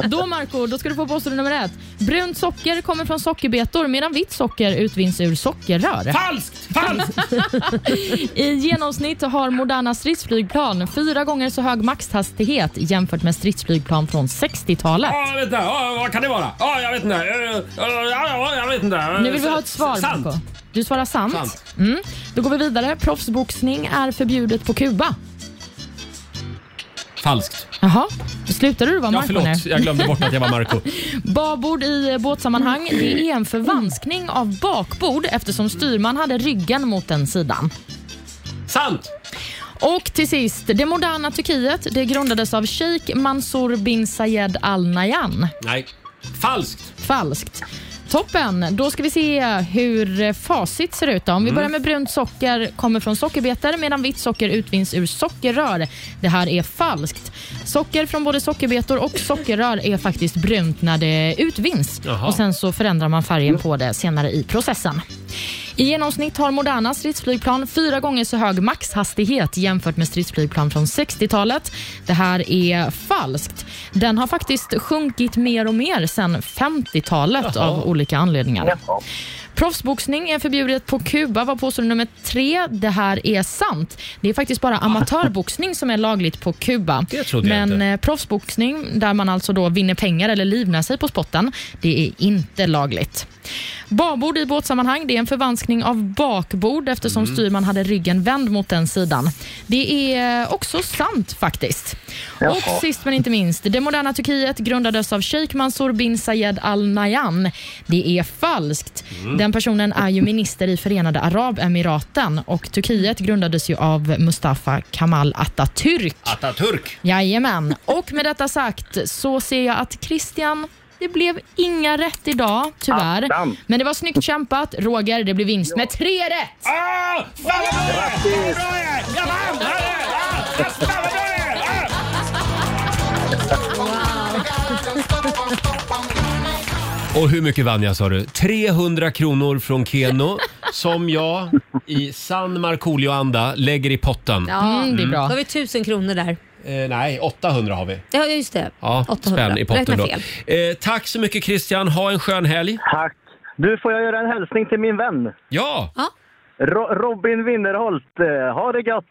S1: Ah,
S3: Då Marco, då ska du få påstående nummer ett. Brunt socker kommer från sockerbetor medan vitt socker utvinns ur sockerrör.
S11: Falskt! Falskt!
S3: I genomsnitt har moderna stridsflygplan fyra gånger så hög maxhastighet jämfört med stridsflygplan från 60-talet.
S1: Ja, jag vet inte. Ja, vad kan det vara? Ja, jag vet inte. Eh, ja, ja, jag vet inte.
S3: Nu vill vi ha ett svar,
S1: Sant.
S3: Marco. Du svarar sant.
S1: Sant.
S3: Mm. Då går vi vidare. Proffsboxning är förbjudet på Kuba.
S1: Falskt.
S3: Jaha, slutade du vara
S1: Ja,
S3: Marco nu?
S1: förlåt. Jag glömde bort att jag
S3: [LAUGHS]
S1: var Marco.
S3: Babord i eh, båtsammanhang, det är en förvanskning av bakbord eftersom styrman hade ryggen mot den sidan.
S1: Sant!
S3: Och till sist, det moderna Turkiet det grundades av Sheikh Mansour bin Sayed Al Nahyan.
S1: Nej. Falskt.
S3: Falskt. Toppen! Då ska vi se hur facit ser ut. Då. Om vi
S1: Mm.
S3: börjar med brunt socker kommer från sockerbetor medan vitt socker utvinns ur sockerrör. Det här är falskt. Socker från både sockerbetor och sockerrör är faktiskt brunt när det utvinns.
S1: Jaha.
S3: Och Sen så förändrar man färgen på det senare i processen. I genomsnitt har moderna stridsflygplan fyra gånger så hög maxhastighet jämfört med stridsflygplan från 60-talet. Det här är falskt. Den har faktiskt sjunkit mer och mer sedan 50-talet
S1: Jaha.
S3: av olika anledningar. Proffsboxning är förbjudet på Kuba var påstående nummer tre. Det här är sant. Det är faktiskt bara amatörboxning som är lagligt på Kuba.
S1: Det trodde jag
S3: Men
S1: inte.
S3: eh, proffsboxning, där man alltså då vinner pengar eller livnär sig på spotten, det är inte lagligt. Babord i båtsammanhang, det är en förvanskning av bakbord eftersom styrman hade ryggen vänd mot den sidan. Det är eh, också sant faktiskt. Och sist men inte minst, det moderna Turkiet grundades av Sheikh Mansour bin Sayed Al Nahyan. Det är falskt. Den personen är ju minister i Förenade Arabemiraten och Turkiet grundades ju av Mustafa Kemal Atatürk.
S1: Atatürk.
S3: Jajamän. Och med detta sagt så ser jag att Christian, det blev inga rätt idag tyvärr.
S20: Attan.
S3: Men det var snyggt kämpat. Roger, det blev vinst med tre rätt.
S11: Ah, fan vad bra det är! Fan vad bra det är! Jag vann! Ja, ja, ja. Fan vad bra det är! Ja.
S1: Och hur mycket vann jag sa du? 300 kronor från Keno som jag i sann Markoolio-anda lägger i potten.
S2: Ja,
S3: Mm, det är bra.
S2: Då har vi tusen kronor där.
S1: Eh, nej, 800 har vi.
S2: Ja, just det.
S1: Ja,
S2: 800.
S1: spänn i potten
S2: Räkna
S1: då.
S2: fel.
S1: Eh, tack så mycket Christian, ha en skön helg.
S20: Tack. Du, får jag göra en hälsning till min vän?
S1: Ja!
S20: Ro- Robin Winnerholt. eh, Ha det gött!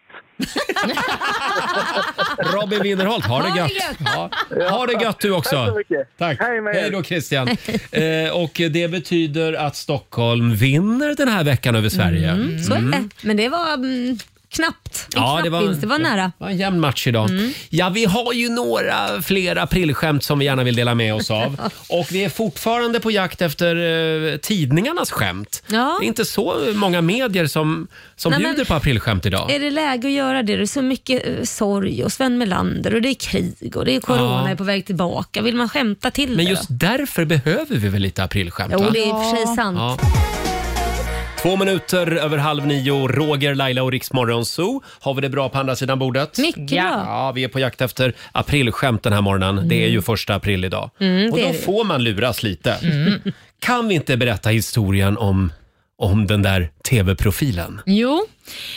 S1: Robin Winnerholt, ha det gött! Ja. Ha det gött du
S20: Tack så
S1: också!
S20: mycket.
S1: Tack!
S20: Hej med er.
S1: Hej då Christian! Eh, och det betyder att Stockholm vinner den här veckan över Sverige.
S2: Så är det. Men det var mm, knappt. En
S1: Mm. Ja,
S2: knapp
S1: det var-
S2: vinst. Det var nära.
S1: Det var en jämn match idag. Ja, vi har ju några fler aprilskämt som vi gärna vill dela med oss [LAUGHS] av. Och vi är fortfarande på jakt efter eh, tidningarnas skämt.
S2: Ja.
S1: Det är inte så många medier som, som
S2: Nej,
S1: bjuder
S2: men-
S1: på aprilskämt idag.
S2: Är det läge att göra det? Det är så mycket eh, sorg och Sven Melander och det är krig och det är corona
S1: Ja.
S2: är på väg tillbaka. Vill man skämta till
S1: Men
S2: det
S1: just
S2: då?
S1: därför behöver vi väl lite aprilskämt?
S2: Jo,
S1: va?
S2: det är i och för sig sant.
S1: Ja. Två minuter över halv nio, Roger, Laila och Riksmorgon Zoo. Har vi det bra på andra sidan bordet?
S2: Mycket
S1: ja.
S2: bra.
S1: Ja, vi är på jakt efter aprilskämt den här morgonen. Det är ju första april idag.
S2: Mm,
S1: och
S2: det
S1: då
S2: är det. Mm.
S1: får man luras lite. [LAUGHS] Kan vi inte berätta historien om, om den där tv-profilen?
S3: Jo,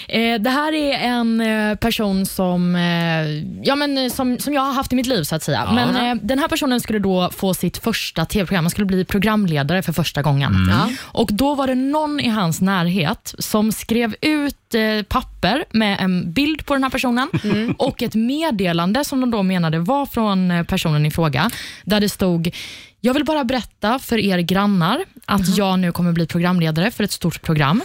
S3: eh, det här är en eh, person som, eh, ja, men, eh, som, som jag har haft i mitt liv så att säga.
S1: Ja.
S3: Men eh, den här personen skulle då få sitt första tv-program. Han skulle bli programledare för första gången.
S21: Mm. Ja.
S3: Och Då var det någon i hans närhet som skrev ut eh, papper med en bild på den här personen
S21: Mm.
S3: och ett meddelande som de då menade var från eh, personen i fråga, där det stod jag vill bara berätta för er grannar att
S21: Mm.
S3: jag nu kommer bli programledare för ett stort program.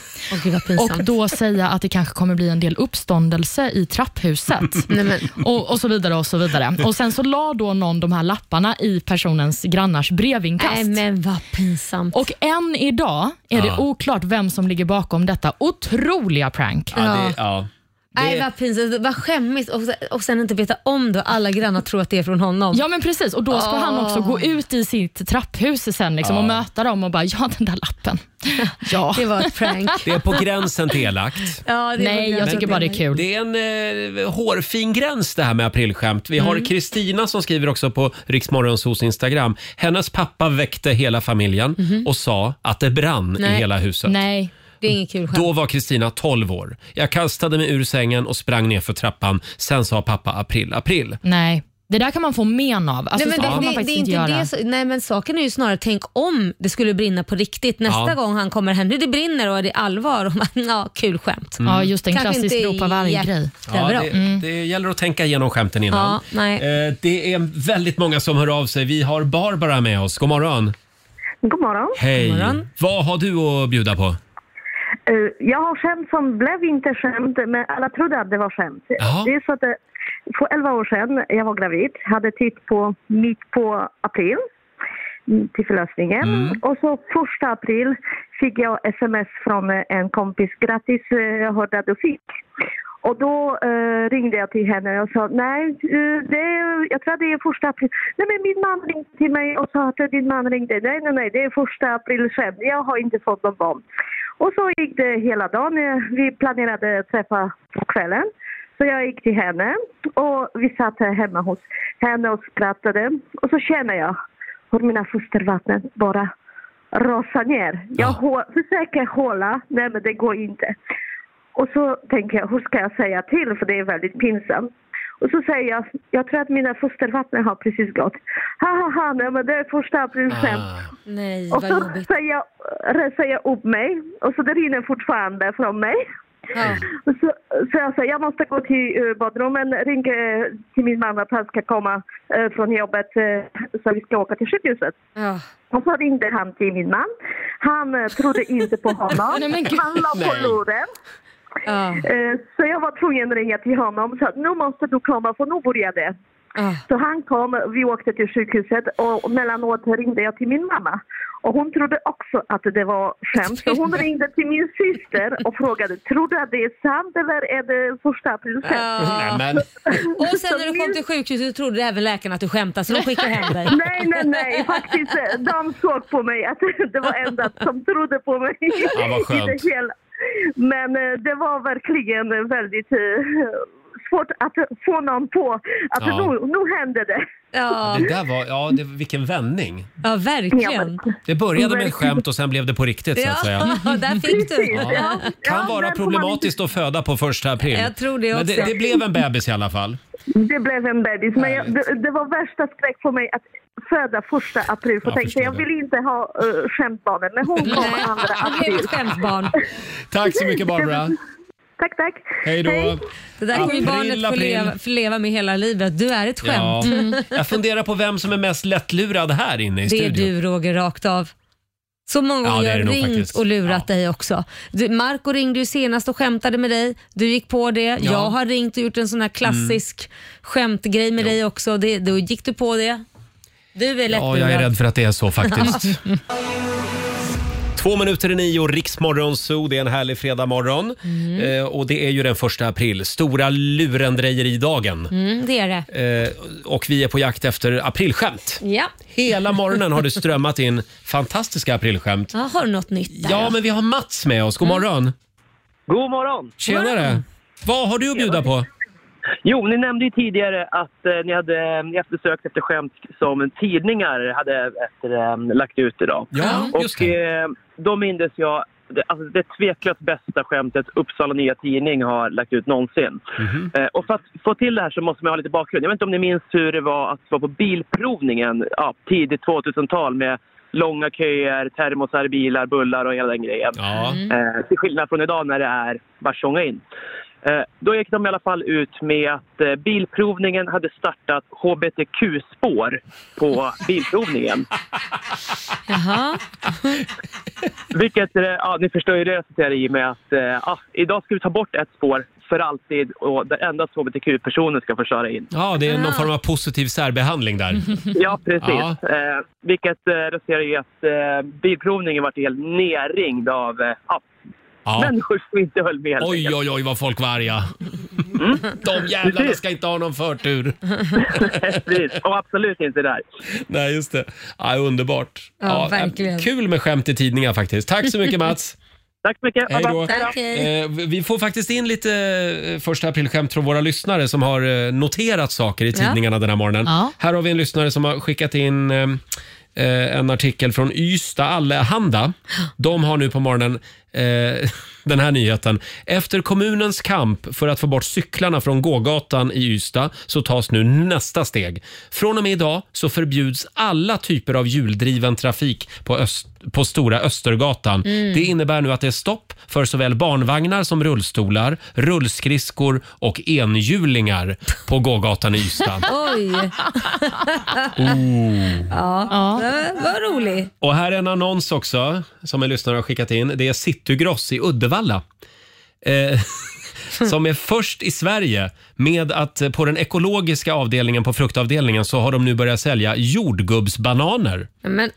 S2: pinsamt.
S3: och då säga att det kanske kommer bli en del uppståndelse i [LAUGHS] trapphuset.
S2: [LAUGHS] Nej,
S3: och, och så vidare och så vidare. Och Sen så la då någon de här lapparna i personens grannars brevinkast.
S2: Nej men vad pinsamt.
S3: Och än idag är det
S1: Ja.
S3: oklart vem som ligger bakom detta otroliga prank.
S1: Ja, det, ja.
S2: Nej,
S1: det,
S2: vad pinsamt. Vad skämmigt. Och, se- och sen inte veta om det och alla grannar tror att det är från honom.
S3: Ja men precis och då ska han också gå ut i sitt trapphus sen liksom,
S1: Ja.
S3: och möta dem och bara, ja den där lappen. Ja.
S2: Det var ett prank.
S1: [LAUGHS] det är på gränsen till elakt.
S2: Ja, det
S3: Nej, jag tycker bara det är kul.
S1: Det är en eh, hårfin gräns det här med aprilskämt. Vi
S2: Mm.
S1: har Kristina som skriver också på Riksmorgonsos Instagram. Hennes pappa väckte hela familjen
S2: Mhm.
S1: och sa att det brann i hela huset.
S3: Nej.
S2: Det är inget kul skämt.
S1: Då var Kristina 12 år. Jag kastade mig ur sängen och sprang ner för trappan. Sen sa pappa april, april.
S3: Nej, det där kan man få men av. Alltså,
S2: nej,
S3: så får
S2: men
S3: man
S2: det, det,
S3: faktiskt
S2: det är
S3: inte
S2: inte
S3: göra.
S2: det. så- Nej, men saken är ju snarare, tänk om det skulle brinna på riktigt nästa
S3: Ja.
S2: gång han kommer hem. Nu det brinner och det är allvar. Och man, [LAUGHS] ja, kul skämt.
S1: Mm. Ja, just
S3: en klassisk
S2: inte
S3: ropa varg-grej.
S1: Ja,
S2: jättebra.
S1: det, det gäller att tänka igenom skämten innan.
S2: Mm. Ja, nej.
S1: Eh, Det är väldigt många som hör av sig. Vi har Barbara med oss. God morgon.
S22: God morgon.
S1: Hej. Vad har du att bjuda på?
S22: Eh, jag har skämt som blev inte skämt, men alla trodde att det var skämt. Det är så att eh, för 11 år sedan, jag var gravid, hade titt på mitt på april mm, till förlossningen. Och så första april fick jag sms från eh, en kompis. Grattis, eh, jag hörde att du fick. Och då eh, ringde jag till henne och sa nej, eh, det är, jag tror att det är första april. Nej men min man ringde till mig och sa att din man ringde. Nej, nej, nej, det är första april skämt. Jag har inte fått någon bomb. Och så gick det hela dagen. Eh, Vi planerade att träffa på kvällen. Så jag gick till henne och vi satt här hemma hos henne och skrattade. Och så känner jag hur mina fostervatten bara rasar ner. Jag hå- försöker hålla, nej men det går inte. Och så tänker jag, hur ska jag säga till? För det är väldigt pinsamt. Och så säger jag, jag tror att mina fostervatten har precis gått. Ha ha ha, nej men det är första april skämt.
S2: Nej, vad
S22: Och så
S2: jobbigt.
S22: säger jag, resar jag upp mig och så det rinner fortfarande från mig. Och Så, så jag säger, jag måste gå till eh, badrummet, ringa eh, till min man att han ska komma eh, från jobbet eh, så vi ska åka till sjukhuset. Och så ringde han till min man. Han eh, trodde inte på honom.
S3: Nej, men gud.
S22: han la på
S3: Nej.
S22: luren. Eh, Så jag var tvungen att ringa till honom och sa nu måste du komma för nu börjar det. Så han kom, vi åkte till sjukhuset och mellanåt ringde jag till min mamma. Och hon trodde också att det var skämt. Så hon ringde till min syster och frågade, tror du att det är sant eller är det första april
S2: Ja.
S1: Nej,
S2: [LAUGHS] Och sen när du kom till sjukhuset trodde även läkaren att du skämtade så de skickade hem dig.
S22: [LAUGHS] Nej, nej, nej. Faktiskt, eh, de såg på mig att [LAUGHS] det var enda som trodde på mig.
S1: Ja, vad skönt.
S22: [LAUGHS] I det hela. Men eh, det var verkligen eh, väldigt eh, svårt att få någon på att
S1: Ja.
S22: nu, nu hände det.
S1: Ja, det där var, ja, det, vilken vändning.
S2: Ja, verkligen.
S1: Det började med ett
S22: Verkligen.
S1: skämt och sen blev det på riktigt så att säga.
S2: [LAUGHS] Ja, där fick du.
S22: Precis, ja.
S1: Kan
S22: Ja,
S1: vara
S22: där får man
S1: problematiskt att föda på första april.
S22: Jag tror det
S1: Men det,
S22: också.
S1: det blev en bebis i alla fall.
S22: Det blev en bebis. Men jag, det, det var värsta skräck för mig att föda första april. För
S1: Jag
S22: jag tänkte
S1: förstår
S22: jag
S1: det.
S22: vill inte ha uh, skämtbarnet. Men hon kom andra
S2: Han blev
S22: april.
S2: ett skämtbarn.
S1: Tack så mycket Barbara.
S22: Tack, tack.
S1: Hej då.
S2: Det där kommer ju barnet få leva, få leva med hela livet. Du är ett
S1: Ja.
S2: skämt. Mm.
S1: Jag funderar på vem som är mest lättlurad här inne i
S2: Det är
S1: studion.
S2: du Roger, rakt av. Så många
S1: Ja,
S2: gånger
S1: det
S2: jag
S1: är det
S2: har
S1: nog
S2: ringt
S1: faktiskt.
S2: och lurat dig också. Du, Marco ringde ju senast och skämtade med dig. Du gick på det. Jag har ringt och gjort en sån här klassisk
S1: Mm.
S2: skämtgrej med dig också. Det, då gick du på det. Du är lättlurad.
S1: Ja, jag är rädd för att det är
S2: [LAUGHS]
S1: så faktiskt. Två minuter i nio, Riksmorgon Zoo. Det är en härlig fredagmorgon. Eh, och det är ju den första april, stora lurendrejeridagen.
S2: mm, det är det.
S1: Eh, och vi är på jakt efter aprilskämt.
S2: Ja.
S1: Hela morgonen har det strömmat in fantastiska aprilskämt.
S2: Ja, har du något nytt där?
S1: Ja,
S2: då?
S1: men vi har
S2: [LAUGHS]
S1: Mats med oss. God morgon!
S20: Mm. God morgon!
S1: Tjenare! Vad har du att bjuda på?
S20: Jo, ni nämnde ju tidigare att eh, ni hade eh, ni eftersökt efter skämt som tidningar hade efter, eh, lagt ut idag.
S1: Ja, just
S20: Och eh, då mindes jag det, alltså det tveklöst bästa skämtet Uppsala Nya Tidning har lagt ut någonsin.
S1: Mhm.
S20: Eh, och för att få till det här så måste man ha lite bakgrund. Jag vet inte om ni minns hur det var att vara på bilprovningen ja, tidigt 2000-tal med långa köer, termosar, bilar, bullar och hela den grejen. Eh, till skillnad från idag när det är bara tjonga in. Eh, då gick de i alla fall ut med att eh, bilprovningen hade startat hbtq-spår på bilprovningen.
S2: Jaha.
S20: [LAUGHS] Vilket, eh, ja, ni förstår ju det resulterar i med att eh, ah, idag ska vi ta bort ett spår för alltid och där endast hbtq-personer ska få köra in.
S1: Ja, det är
S20: Ah.
S1: någon form av positiv särbehandling där.
S20: [LAUGHS] Ja, precis.
S1: Ja.
S20: Eh, vilket eh, resulterar i att eh, bilprovningen vart helt nerringd av eh, ja,
S1: Ja.
S20: människor som inte höll med. helt
S1: Oj,
S20: enkelt.
S1: oj, oj vad folk var arga. De jävlarna ska inte ha
S20: [LAUGHS]
S1: någon förtur.
S20: Precis, och absolut inte där.
S1: Nej, just det. Ja, underbart.
S20: Ja, verkligen.
S1: Kul med skämt i tidningar faktiskt. Tack
S20: [LAUGHS]
S1: så mycket Mats.
S20: Tack så mycket.
S1: Hej då.
S20: Tack, hej.
S1: Eh, Vi får faktiskt in lite eh, första aprilskämt från våra lyssnare som har eh, noterat saker i
S3: Ja.
S1: tidningarna den här morgonen.
S3: Ja.
S1: Här har vi en lyssnare som har skickat in eh, eh, en artikel från Ystad Allehanda. De har nu på morgonen eh, [LAUGHS] den här nyheten. Efter kommunens kamp för att få bort cyklarna från gågatan i Ystad så tas nu nästa steg. Från och med idag så förbjuds alla typer av hjuldriven trafik på, öst, på Stora Östergatan.
S3: Mm.
S1: Det innebär nu att det är stopp för såväl barnvagnar som rullstolar, rullskridskor och enhjulingar på gågatan i Ystad.
S2: Oj.
S1: Oh.
S2: [LAUGHS] Ja, Det var rolig.
S1: Och här är en annons också som en lyssnare har skickat in. Det är Citygross i Uddevalla. Eh, [LAUGHS] som är först i Sverige med att eh, på den ekologiska avdelningen på fruktavdelningen så har de nu börjat sälja jordgubbsbananer.
S2: Men,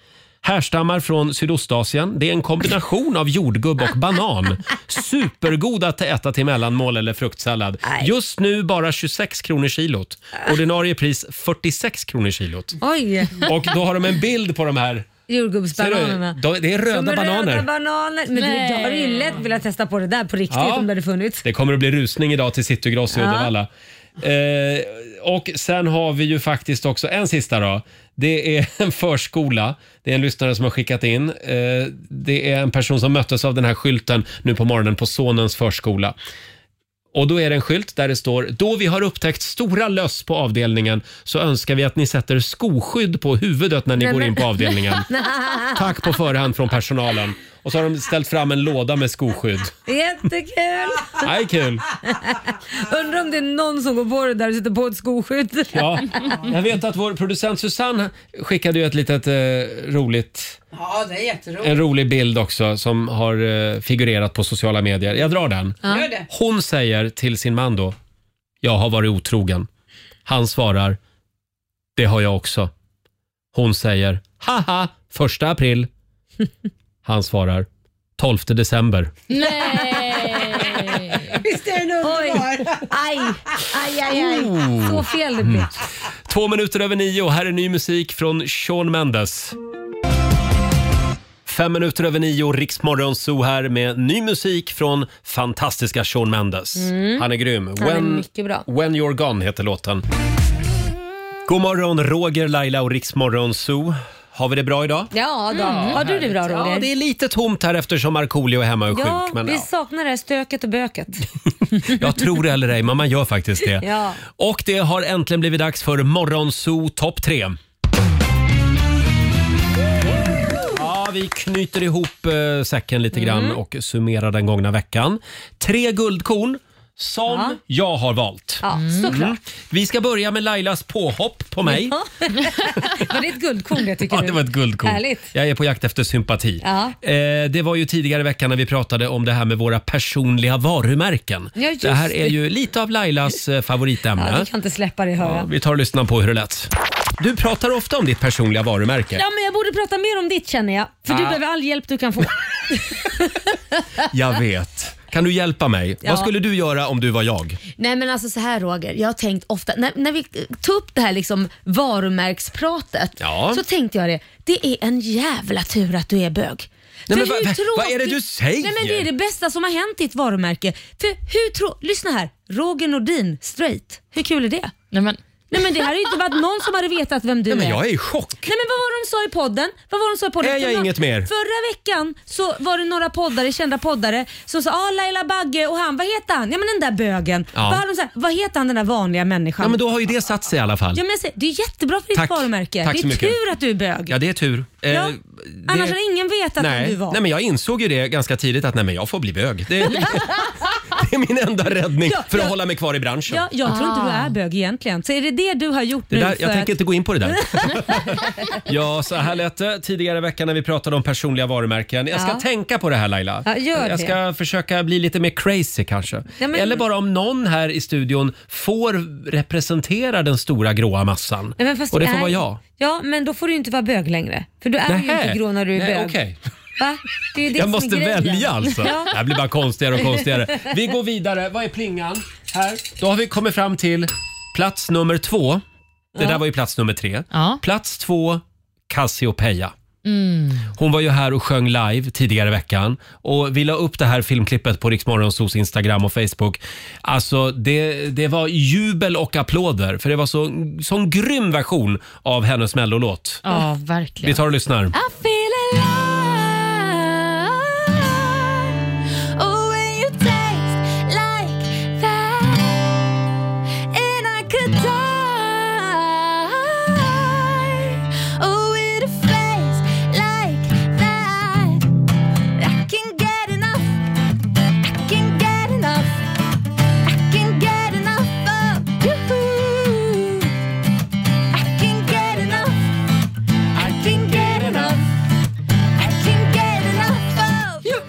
S1: Härstammar från Sydostasien. Det är en kombination av jordgubb och banan. Supergod att äta till mellanmål eller fruktsallad. Just nu bara 26 kronor kilot. Ordinarie pris 46 kronor kilot.
S2: oj.
S1: Och då har de en bild på de här
S2: Jordgubbsbananerna.
S1: Ser du? De- det är röda
S2: Som
S1: bananer.
S2: Röda bananer. Men det, jag hade ju lätt velat testa på det där på riktigt
S1: Ja.
S2: om det hade funnits.
S1: Det kommer att bli rusning idag till Citygross i
S2: Ja.
S1: Uddevalla. Eh, och sen har vi ju faktiskt också en sista då. Det är [LAUGHS] en förskola. Det är en lyssnare som har skickat in. Eh, det är en person som möttes av den här skylten nu på morgonen på sonens förskola. Och då är det en skylt där det står “Då vi har upptäckt stora löss på avdelningen så önskar vi att ni sätter skoskydd på huvudet när
S2: [LAUGHS]
S1: ni
S2: Nej,
S1: går
S2: men-
S1: in på avdelningen. Tack på förhand från personalen.” Och så har de ställt fram en låda med skoskydd. [LAUGHS]
S2: Jättekul!
S1: Nej, kul!
S2: Undrar om det är någon som går på det där och sitter på ett skoskydd.
S1: [LAUGHS] Ja, jag vet att vår producent Susanne skickade ju ett litet eh, roligt,
S6: Ja, det är jätteroligt.
S1: en rolig bild också som har eh, figurerat på sociala medier. Jag drar den.
S6: Ja. Gör det.
S1: Hon säger till sin man då, jag har varit otrogen. Han svarar, det har jag också. Hon säger, haha, första
S6: [LAUGHS]
S1: april. Han svarar, 12 december.
S6: Nej! [LAUGHS] Visst är den underbar?
S2: Aj, aj, aj, aj.
S1: Oh.
S2: Så fel det blev.
S1: Två minuter över nio och här är ny musik från Shawn Mendes. Fem minuter över nio, Riksmorgon Zoo här med ny musik från fantastiska Shawn Mendes.
S2: Mm.
S1: Han är grym.
S2: Han är mycket bra.
S1: When You're Gone heter låten. God morgon, Roger, Laila och Riksmorgon Zoo. Har vi det bra idag?
S2: Ja, då. har du det bra Roger?
S1: Mm. Ja, det är lite tomt här eftersom Markoolio är hemma och är
S2: Ja,
S1: sjuk. Men
S2: vi
S1: ja,
S2: saknar det här stöket och böket.
S1: jag tror det eller ej, men man gör faktiskt det.
S2: [LAUGHS] Ja.
S1: Och det har äntligen blivit dags för Morgonzoo topp 3. Ja, vi
S2: Mm.
S1: knyter ihop eh, säcken lite grann och summerar den gångna veckan. Tre guldkorn som
S2: Ja.
S1: jag har valt.
S2: Ja, såklart.
S1: Vi ska börja med Lailas påhopp på Mm. mig.
S2: Ja. [LAUGHS] var det ett guldkorn det tycker
S1: Ja,
S2: du?
S1: det var ett guldkorn.
S2: Härligt.
S1: Jag är på jakt efter sympati.
S2: Ja.
S1: Eh, det var ju tidigare i veckan när vi pratade om det här med våra personliga varumärken.
S2: Ja, just
S1: det här är
S2: det.
S1: ju lite av Lailas eh, favoritämne.
S2: Ja, du kan inte släppa det höra.
S1: Ja, vi tar och lyssnar på hur det lät. Du pratar ofta om ditt personliga varumärke.
S2: Ja, men jag borde prata mer om ditt känner jag. För du
S1: Ja.
S2: behöver all hjälp du kan få.
S1: Jag vet. Kan du hjälpa mig?
S2: Ja.
S1: Vad skulle du göra om du var jag?
S2: Nej men alltså så här Roger, jag har tänkt ofta, när, när vi tog upp det här liksom varumärkspratet
S1: Ja.
S2: så tänkte jag det, det är en jävla tur att du är bög.
S1: Nej, men
S2: För
S1: vad-
S2: hur
S1: vad-
S2: tråkigt-
S1: vad är det du säger?
S2: Nej, men det är det bästa som har hänt ditt varumärke. För hur tro... Lyssna här, Roger Nordin, straight. Hur kul är det?
S3: Nej, men...
S2: Nej men det här är ju inte varit någon som hade vetat vem du
S1: Nej, men
S2: är.
S1: jag är i chock.
S2: Nej men vad var det de sa i podden? Vad var det de sa i podden?
S1: Är jag
S2: För några-
S1: inget mer?
S2: Förra veckan så var det några poddare, kända poddare som sa ah, Laila Bagge och han, vad heter han? Ja men den där bögen.
S1: Ja.
S2: Vad, hade de sagt? vad heter han den där vanliga människan?
S1: Ja, men då har ju det satt sig i alla fall.
S2: Ja, men jag säger, det är jättebra för ditt
S1: Tack.
S2: varumärke.
S1: Tack
S2: det är
S1: så mycket.
S2: tur att du är bög.
S1: Ja, det är tur. Eh,
S2: Ja.
S1: det-
S2: Annars hade ingen vetat vem du
S1: Nej.
S2: var.
S1: nej,
S2: [LAUGHS]
S1: men jag [LAUGHS] insåg ju det ganska tidigt att nej, men jag får bli bög. Det, det är min enda räddning
S2: Ja,
S1: för att
S2: ja.
S1: hålla mig kvar i branschen.
S2: Ja, jag tror inte du är bög egentligen. Så är det det du har gjort
S1: Det
S2: nu
S1: där,
S2: för
S1: jag tänker
S2: att...
S1: inte gå in på
S2: [LAUGHS]
S1: det där. ja, så här lät det tidigare i veckan när vi pratade om personliga varumärken. Jag ska
S2: Ja.
S1: tänka på det här Laila.
S2: Ja, gör
S1: jag ska försöka bli lite mer crazy kanske.
S2: Ja, men-
S1: Eller bara om någon här i studion får representera den stora gråa massan.
S2: Nej, men fast
S1: Och det
S2: du
S1: får
S2: är-
S1: vara jag.
S2: Ja, men då får du ju inte vara bög längre. För du är ju
S1: Nähä.
S2: inte grå när du är
S1: Nej,
S2: bög.
S1: okej.
S2: Va? Det är ju det
S1: jag
S2: som är
S1: måste
S2: grejen.
S1: välja alltså.
S2: Ja.
S1: Det här blir bara konstigare och konstigare. Vi går vidare. Vad är plingan? Här. Då har vi kommit fram till plats nummer två. Det
S3: Ja.
S1: där var ju plats nummer tre.
S3: Ja.
S1: Plats två, Cassiopeia.
S3: Mm.
S1: Hon var ju här och sjöng live tidigare i veckan och vi la upp det här filmklippet på Riksmorgonsos Instagram och Facebook. Alltså, det, det var jubel och applåder för det var så, sån grym version av hennes mellolåt.
S3: Ja, verkligen.
S1: Vi tar och lyssnar.
S7: I feel alive. Oh, when you taste like that, and I could die. Oh, with a face like that, I can get enough. I can get enough. I can get enough of you. I can get enough. I can get enough. I can get enough of you.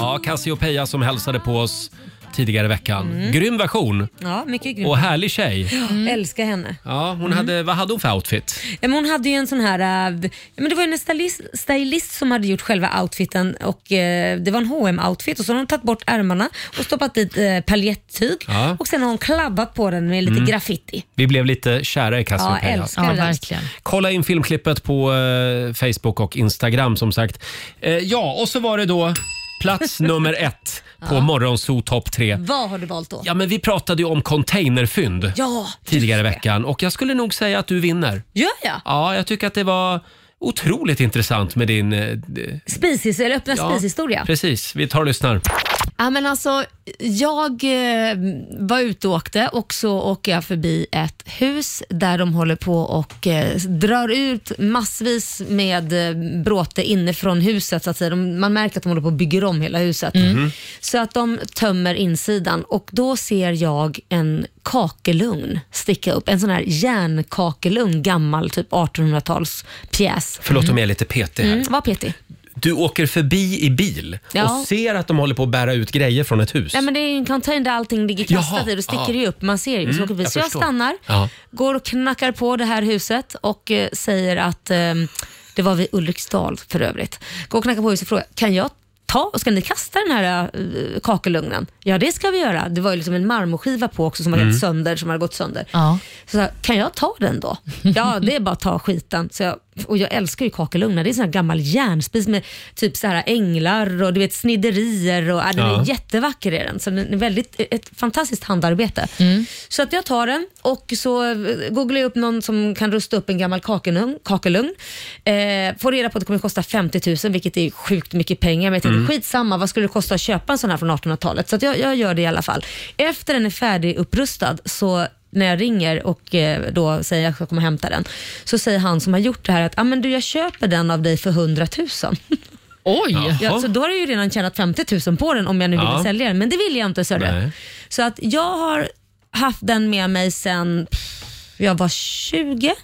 S1: Ja, Cassiopeia som hälsade på oss tidigare i veckan.
S2: Mm.
S1: Grym version
S2: Ja, mycket grymt.
S1: och härlig tjej.
S2: Jag Älskar henne.
S1: Ja, hon hade, vad hade hon för outfit?
S2: Ja, men Hon hade ju en sån här, äh, ja, men det var ju en stylist, stylist som hade gjort själva outfiten och eh, det var en hm outfit och så har hon tagit bort ärmarna och stoppat dit eh, paljettyg
S1: Ja.
S2: och sen har hon klabbat på den med lite
S1: Mm. Alltså,
S2: graffiti.
S1: Vi blev lite kära i
S2: Ja,
S1: Cassiopeia.
S2: älskar det. verkligen.
S1: Kolla in filmklippet på eh, Facebook och Instagram som sagt. Eh, ja, och så var det då
S7: [LAUGHS]
S1: plats nummer ett på
S2: Ja.
S1: Morgonzoo topp tre.
S2: Vad har du valt då?
S1: Ja, men vi pratade ju om containerfynd
S2: Ja,
S1: tidigare i veckan och jag skulle nog säga att du vinner.
S2: gör jag?
S1: Ja, jag tycker att det var otroligt intressant med din... eh, d-
S2: Spisis, eller öppna
S1: ja,
S2: spishistoria.
S1: Precis, vi tar och lyssnar.
S7: Ja, men alltså, jag eh, var ute och åkte och så åker jag förbi ett hus där de håller på och eh, drar ut massvis med eh, bråte inifrån huset. Så att säga. De, man märker att de håller på och bygger om hela huset.
S1: Mm.
S5: Mhm.
S7: Så att de tömmer insidan och då ser jag en kakelugn sticka upp. En sån här järnkakelugn, gammal typ 1800-talspjäs.
S1: Förlåt om jag är lite petig här.
S7: Mm, var petig.
S1: Du åker förbi i bil
S7: Ja.
S1: och ser att de håller på att bära ut grejer från ett hus.
S7: Nej, men det är ju en container där allting ligger kastat
S1: Jaha,
S7: i. Då sticker
S1: ja.
S7: det ju upp. Man ser ju.
S1: Mm,
S7: så, åker vi.
S1: jag
S7: så jag
S1: förstår.
S7: stannar,
S1: Ja.
S7: går och knackar på det här huset och eh, säger att, eh, det var vid Ulriksdal för övrigt, går och knackar på huset och frågar, kan jag ta, ska ni kasta den här eh, kakelugnen? Ja, det ska vi göra. Det var ju liksom en marmorskiva på också som hade
S5: Mm.
S7: gått sönder, som hade gått sönder.
S5: Ja.
S7: Så jag, kan jag ta den då? Ja, det är bara att ta skiten. Så jag, och jag älskar ju kakelugnar. Det är sån här gammal järnspis med typ så här änglar och du vet sniderier. Och, ja, den
S5: Ja.
S7: är jättevacker är den. Så den är väldigt, ett fantastiskt handarbete.
S2: Mm.
S7: Så att jag tar den och så eh, googlar jag upp någon som kan rusta upp en gammal kakelugn. kakelugn. Eh, får reda på att det kommer kosta 50 000 vilket är sjukt mycket pengar. Men jag tänkte
S5: Mm.
S7: skitsamma, vad skulle det kosta att köpa en sån här från 1800-talet? Så att jag, jag gör det i alla fall. Efter den är färdigupprustad så när jag ringer och eh, då säger jag att jag kommer hämta den, så säger han som har gjort det här att ah, men du, jag köper den av dig för 100 000.
S2: Oj! Ja,
S1: Jaha.
S2: så då har jag ju redan tjänat 50 000 på den om jag nu
S1: Ja.
S2: ville sälja den, men det vill jag inte. Så, är
S1: Nej.
S2: det. så att jag har haft den med mig sedan pff, jag var 20.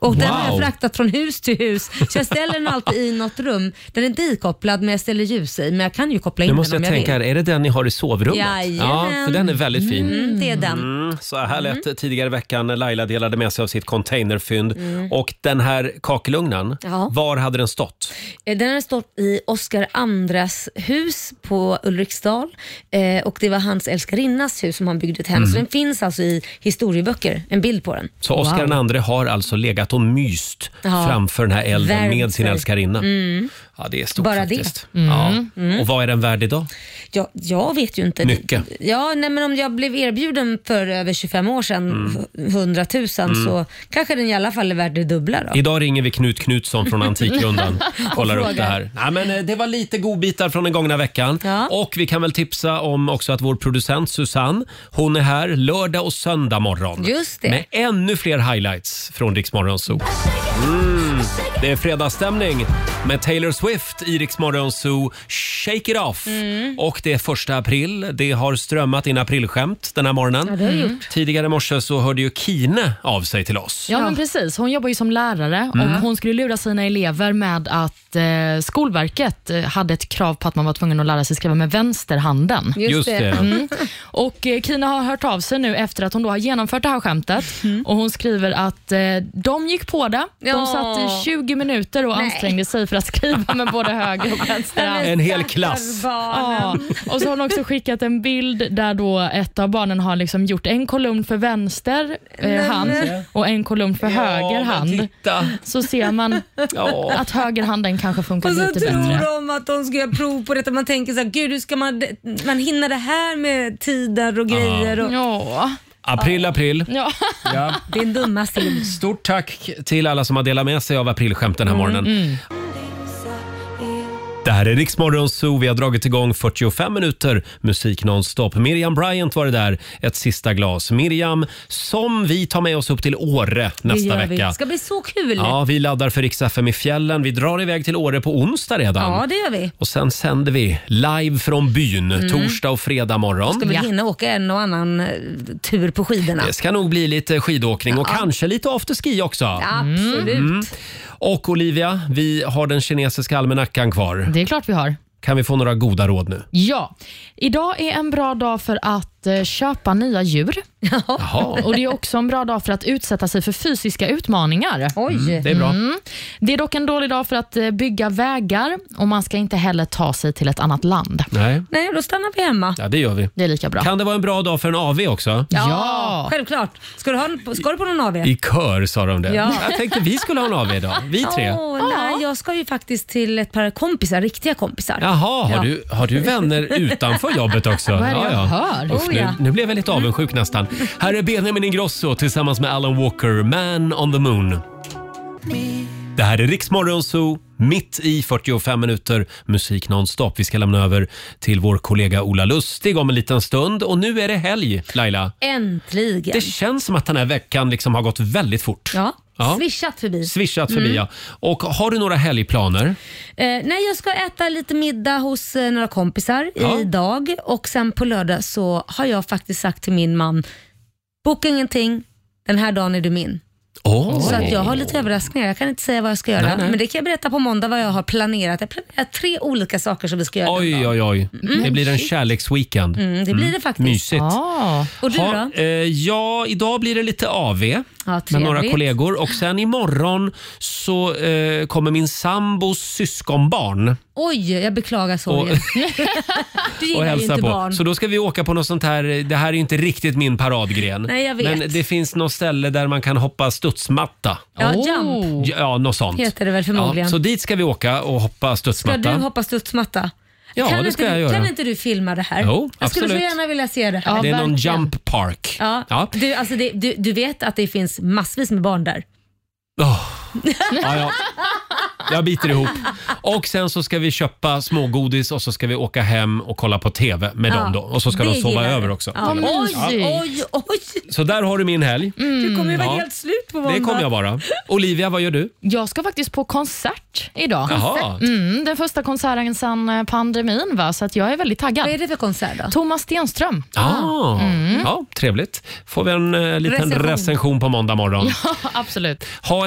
S2: Och Den har
S1: Wow.
S2: jag fraktat från hus till hus, så jag ställer den alltid i
S1: [LAUGHS]
S2: något rum. Den är inte ikopplad, men jag ställer ljus i. Men jag kan ju koppla in
S1: Nu måste
S2: den
S1: jag
S2: om jag,
S1: tänka, här,
S2: vill.
S1: är det den ni har i sovrummet?
S2: Jajamän.
S1: Ja, för den är väldigt fin.
S2: Mm, det är den.
S1: Mm, så här lät det tidigare i veckan när Laila delade med sig av sitt containerfynd.
S2: Mm.
S1: Och den här kakelugnen,
S2: Ja.
S1: var hade den stått?
S2: Eh, Den har stått i Oscar Andras hus på Ulriksdal eh, och det var hans älskarinnas hus som han byggde ett hem.
S1: Mm.
S2: Så den finns alltså i historieböcker, en bild på den.
S1: Så Oscar den andre har alltså legat och myst
S2: Ja.
S1: framför den här elden
S2: Värmt
S1: med sin
S2: sig.
S1: älskarinna.
S2: Mm.
S1: Ja, det är stort
S2: Bara
S1: faktiskt.
S2: det. Mm.
S1: Ja.
S2: Mm.
S1: Och vad är den värd idag?
S2: Ja, jag vet ju inte.
S1: Mycket.
S2: Ja, nej, men om jag blev erbjuden för över 25 år sedan,
S1: Mm.
S2: 100 000,
S1: Mm.
S2: så kanske den i alla fall är värd det dubbla. Då.
S1: Idag ringer vi Knut Knutsson från Antikrundan.
S2: Och
S1: kollar upp det
S2: frågar.
S1: här. Ja, men eh, det var lite godbitar från den gångna veckan. Och vi kan väl tipsa om också att vår producent Susanne, hon är här lördag och söndag morgon.
S2: Just det.
S1: Med ännu fler highlights från Rix Morgon Zoo. Mm. Det är fredagsstämning med Taylor Swift i Rix Morgon Zoo, Shake It Off.
S2: Mm.
S1: Och det är första april. Det har strömmat in aprilskämt den här morgonen. Mm.
S3: Ja, det har det gjort.
S1: Tidigare i morse så hörde ju Kine av sig till oss.
S3: Ja, men precis. Hon jobbar ju som lärare och hon skulle lura sina elever med att eh, Skolverket eh, hade ett krav på att man var tvungen att lära sig skriva med vänsterhanden.
S1: Just Just det. det.
S3: Mm. Och eh, Kina har hört av sig nu efter att hon då har genomfört det här skämtet och hon skriver att eh, de gick på det. De
S2: Ja.
S3: satt i 20 minuter och
S2: Nej.
S3: ansträngde sig för att skriva med både höger och vänster hand.
S1: En hel klass.
S3: Ja, och så har hon också skickat en bild där då ett av barnen har liksom gjort en kolumn för vänster eh,
S1: Nej,
S3: hand
S1: men-
S3: och en kolumn för höger
S1: men
S3: hand. Så ser man
S1: [LAUGHS] Ja.
S3: att högerhanden kanske funkar
S2: Och så
S3: lite
S2: tror
S3: bättre.
S2: de att de ska göra prov på detta. Man tänker så här, gud hur ska man, man hinna det här med tider och
S1: Ja.
S2: grejer? Och...
S3: Ja.
S1: Ah. April, april.
S3: Ja.
S1: Ja.
S2: Det är en dumma sim.
S1: Stort tack till alla som har delat med sig av aprilskämt
S2: Mm.
S1: den här morgonen. Det här är Riksmorgon Zoo. Vi har dragit igång 45 minuter musik nonstop. Miriam Bryant var det där, ett sista glas. Miriam, som vi tar med oss upp till Åre
S2: Det
S1: nästa
S2: gör vi.
S1: vecka.
S2: Det ska bli så kul.
S1: Ja, vi laddar för Rix FM i fjällen. Vi drar iväg till Åre på onsdag redan.
S2: Ja, det gör vi.
S1: Och sen sänder vi live från byn
S2: Mm.
S1: torsdag och fredag morgon.
S2: Ska vi hinna åka en och annan eh, tur på skidorna?
S1: Det ska nog bli lite skidåkning och kanske lite afterski också.
S2: Absolut.
S1: Mm. Och Olivia, vi har den kinesiska almanackan kvar.
S3: Det är klart vi har.
S1: Kan vi få några goda råd nu?
S3: Ja, idag är en bra dag för att eh, köpa nya djur.
S1: Jaha.
S3: Och Det är också en bra dag för att utsätta sig för fysiska utmaningar.
S2: Oj. Mm,
S1: det är bra.
S3: Det är dock en dålig dag för att eh, bygga vägar och man ska inte heller ta sig till ett annat land.
S1: Nej,
S2: Nej, då stannar vi hemma.
S1: ja, det gör vi.
S3: Det är lika bra.
S1: Kan det vara en bra dag för en AV också?
S2: Självklart. Ska du, ha en, ska du på någon AV?
S1: I kör sa de det.
S2: Ja.
S1: Jag tänkte vi skulle ha en AV idag, vi tre.
S2: Åh, nej, jag ska ju faktiskt till ett par kompisar, riktiga kompisar.
S1: Jaha, har,
S2: Ja.
S1: du, har du vänner utanför jobbet också?
S2: Vad är det jag hör?
S1: Uff,
S2: Oh,
S1: nu,
S2: ja.
S1: nu blev jag lite avundsjuk nästan. Här är Benjamin Ingrosso tillsammans med Alan Walker, Man on the Moon. Det här är Riksmorgon Zoo, mitt i 45 minuter musik nonstop. Vi ska lämna över till vår kollega Ola Lustig om en liten stund. Och nu är det helg, Laila.
S2: Äntligen.
S1: Det känns som att den här veckan liksom har gått väldigt fort.
S2: Ja.
S1: Ja.
S2: Swishat förbi.
S1: Swishat förbi,
S2: Mm.
S1: ja. Och har du några helgplaner?
S2: Eh, nej, jag ska äta lite middag hos eh, några kompisar
S1: Ja.
S2: idag och sen på lördag så har jag faktiskt sagt till min man, boka ingenting, den här dagen är du min.
S1: Åh.
S2: Så att jag har lite överraskningar. Jag kan inte säga vad jag ska göra,
S1: Nej, nej.
S2: men det kan jag berätta på måndag vad jag har planerat. Jag planerar tre olika saker som vi ska göra.
S1: Oj, oj, oj.
S2: Mm.
S1: Det blir en
S2: Shit.
S1: kärleksweekend.
S2: Mm, det blir det faktiskt. Ah.
S1: Mysigt.
S2: Och du
S1: Ha, eh, ja, idag blir det lite AV med några
S2: trevligt.
S1: kollegor och sen imorgon så eh, kommer min sambos syskonbarn
S2: Oj, jag beklagar sorgen.
S1: [LAUGHS] Och-
S2: du
S1: och
S2: gillar ju
S1: hälsa
S2: inte
S1: på.
S2: barn.
S1: Så då ska vi åka på något sånt här, det här är ju inte riktigt min paradgren.
S2: Nej, jag vet.
S1: Men det finns något ställe där man kan hoppa studsmatta.
S2: Ja, jump.
S1: Ja, något sånt.
S2: Heter det väl förmodligen.
S1: Ja, så dit ska vi åka och
S2: Ska
S1: hoppa studsmatta.
S2: du hoppa studsmatta?
S1: Ja, det
S2: inte
S1: ska
S2: du,
S1: jag göra.
S2: Kan inte du filma det här?
S1: Jo,
S2: jag skulle så
S1: absolut.
S2: gärna vilja se det här.
S1: det är någon jump park.
S2: Ja.
S1: Ja.
S2: Du, alltså det, du, du vet att det finns massvis med barn där?
S1: Åh. Ja, ja. Jag biter ihop. Och sen så ska vi köpa smågodis och så ska vi åka hem och kolla på TV med
S2: Ja,
S1: dem då. Och så ska
S2: det
S1: de sova
S2: gillar jag.
S1: över också.
S2: Ja. Oj,
S1: Ja.
S2: oj, oj.
S1: Så där har du min helg.
S2: Mm. Du kommer ju vara
S1: Mm. Ja.
S2: helt slut på måndag.
S1: Det kommer jag vara. Olivia, vad gör du?
S3: Jag ska faktiskt på konsert idag.
S1: Jaha.
S3: Mm, den första konserten sedan eh, pandemin, va? så att jag är väldigt taggad. Vad är
S2: det för konsert då?
S3: Thomas Stenström.
S1: Ah, Ja, trevligt. Får vi en eh, liten recension.
S3: Mm. Recension.
S1: på måndag morgon.
S3: [LAUGHS] Ja, absolut.
S1: Ha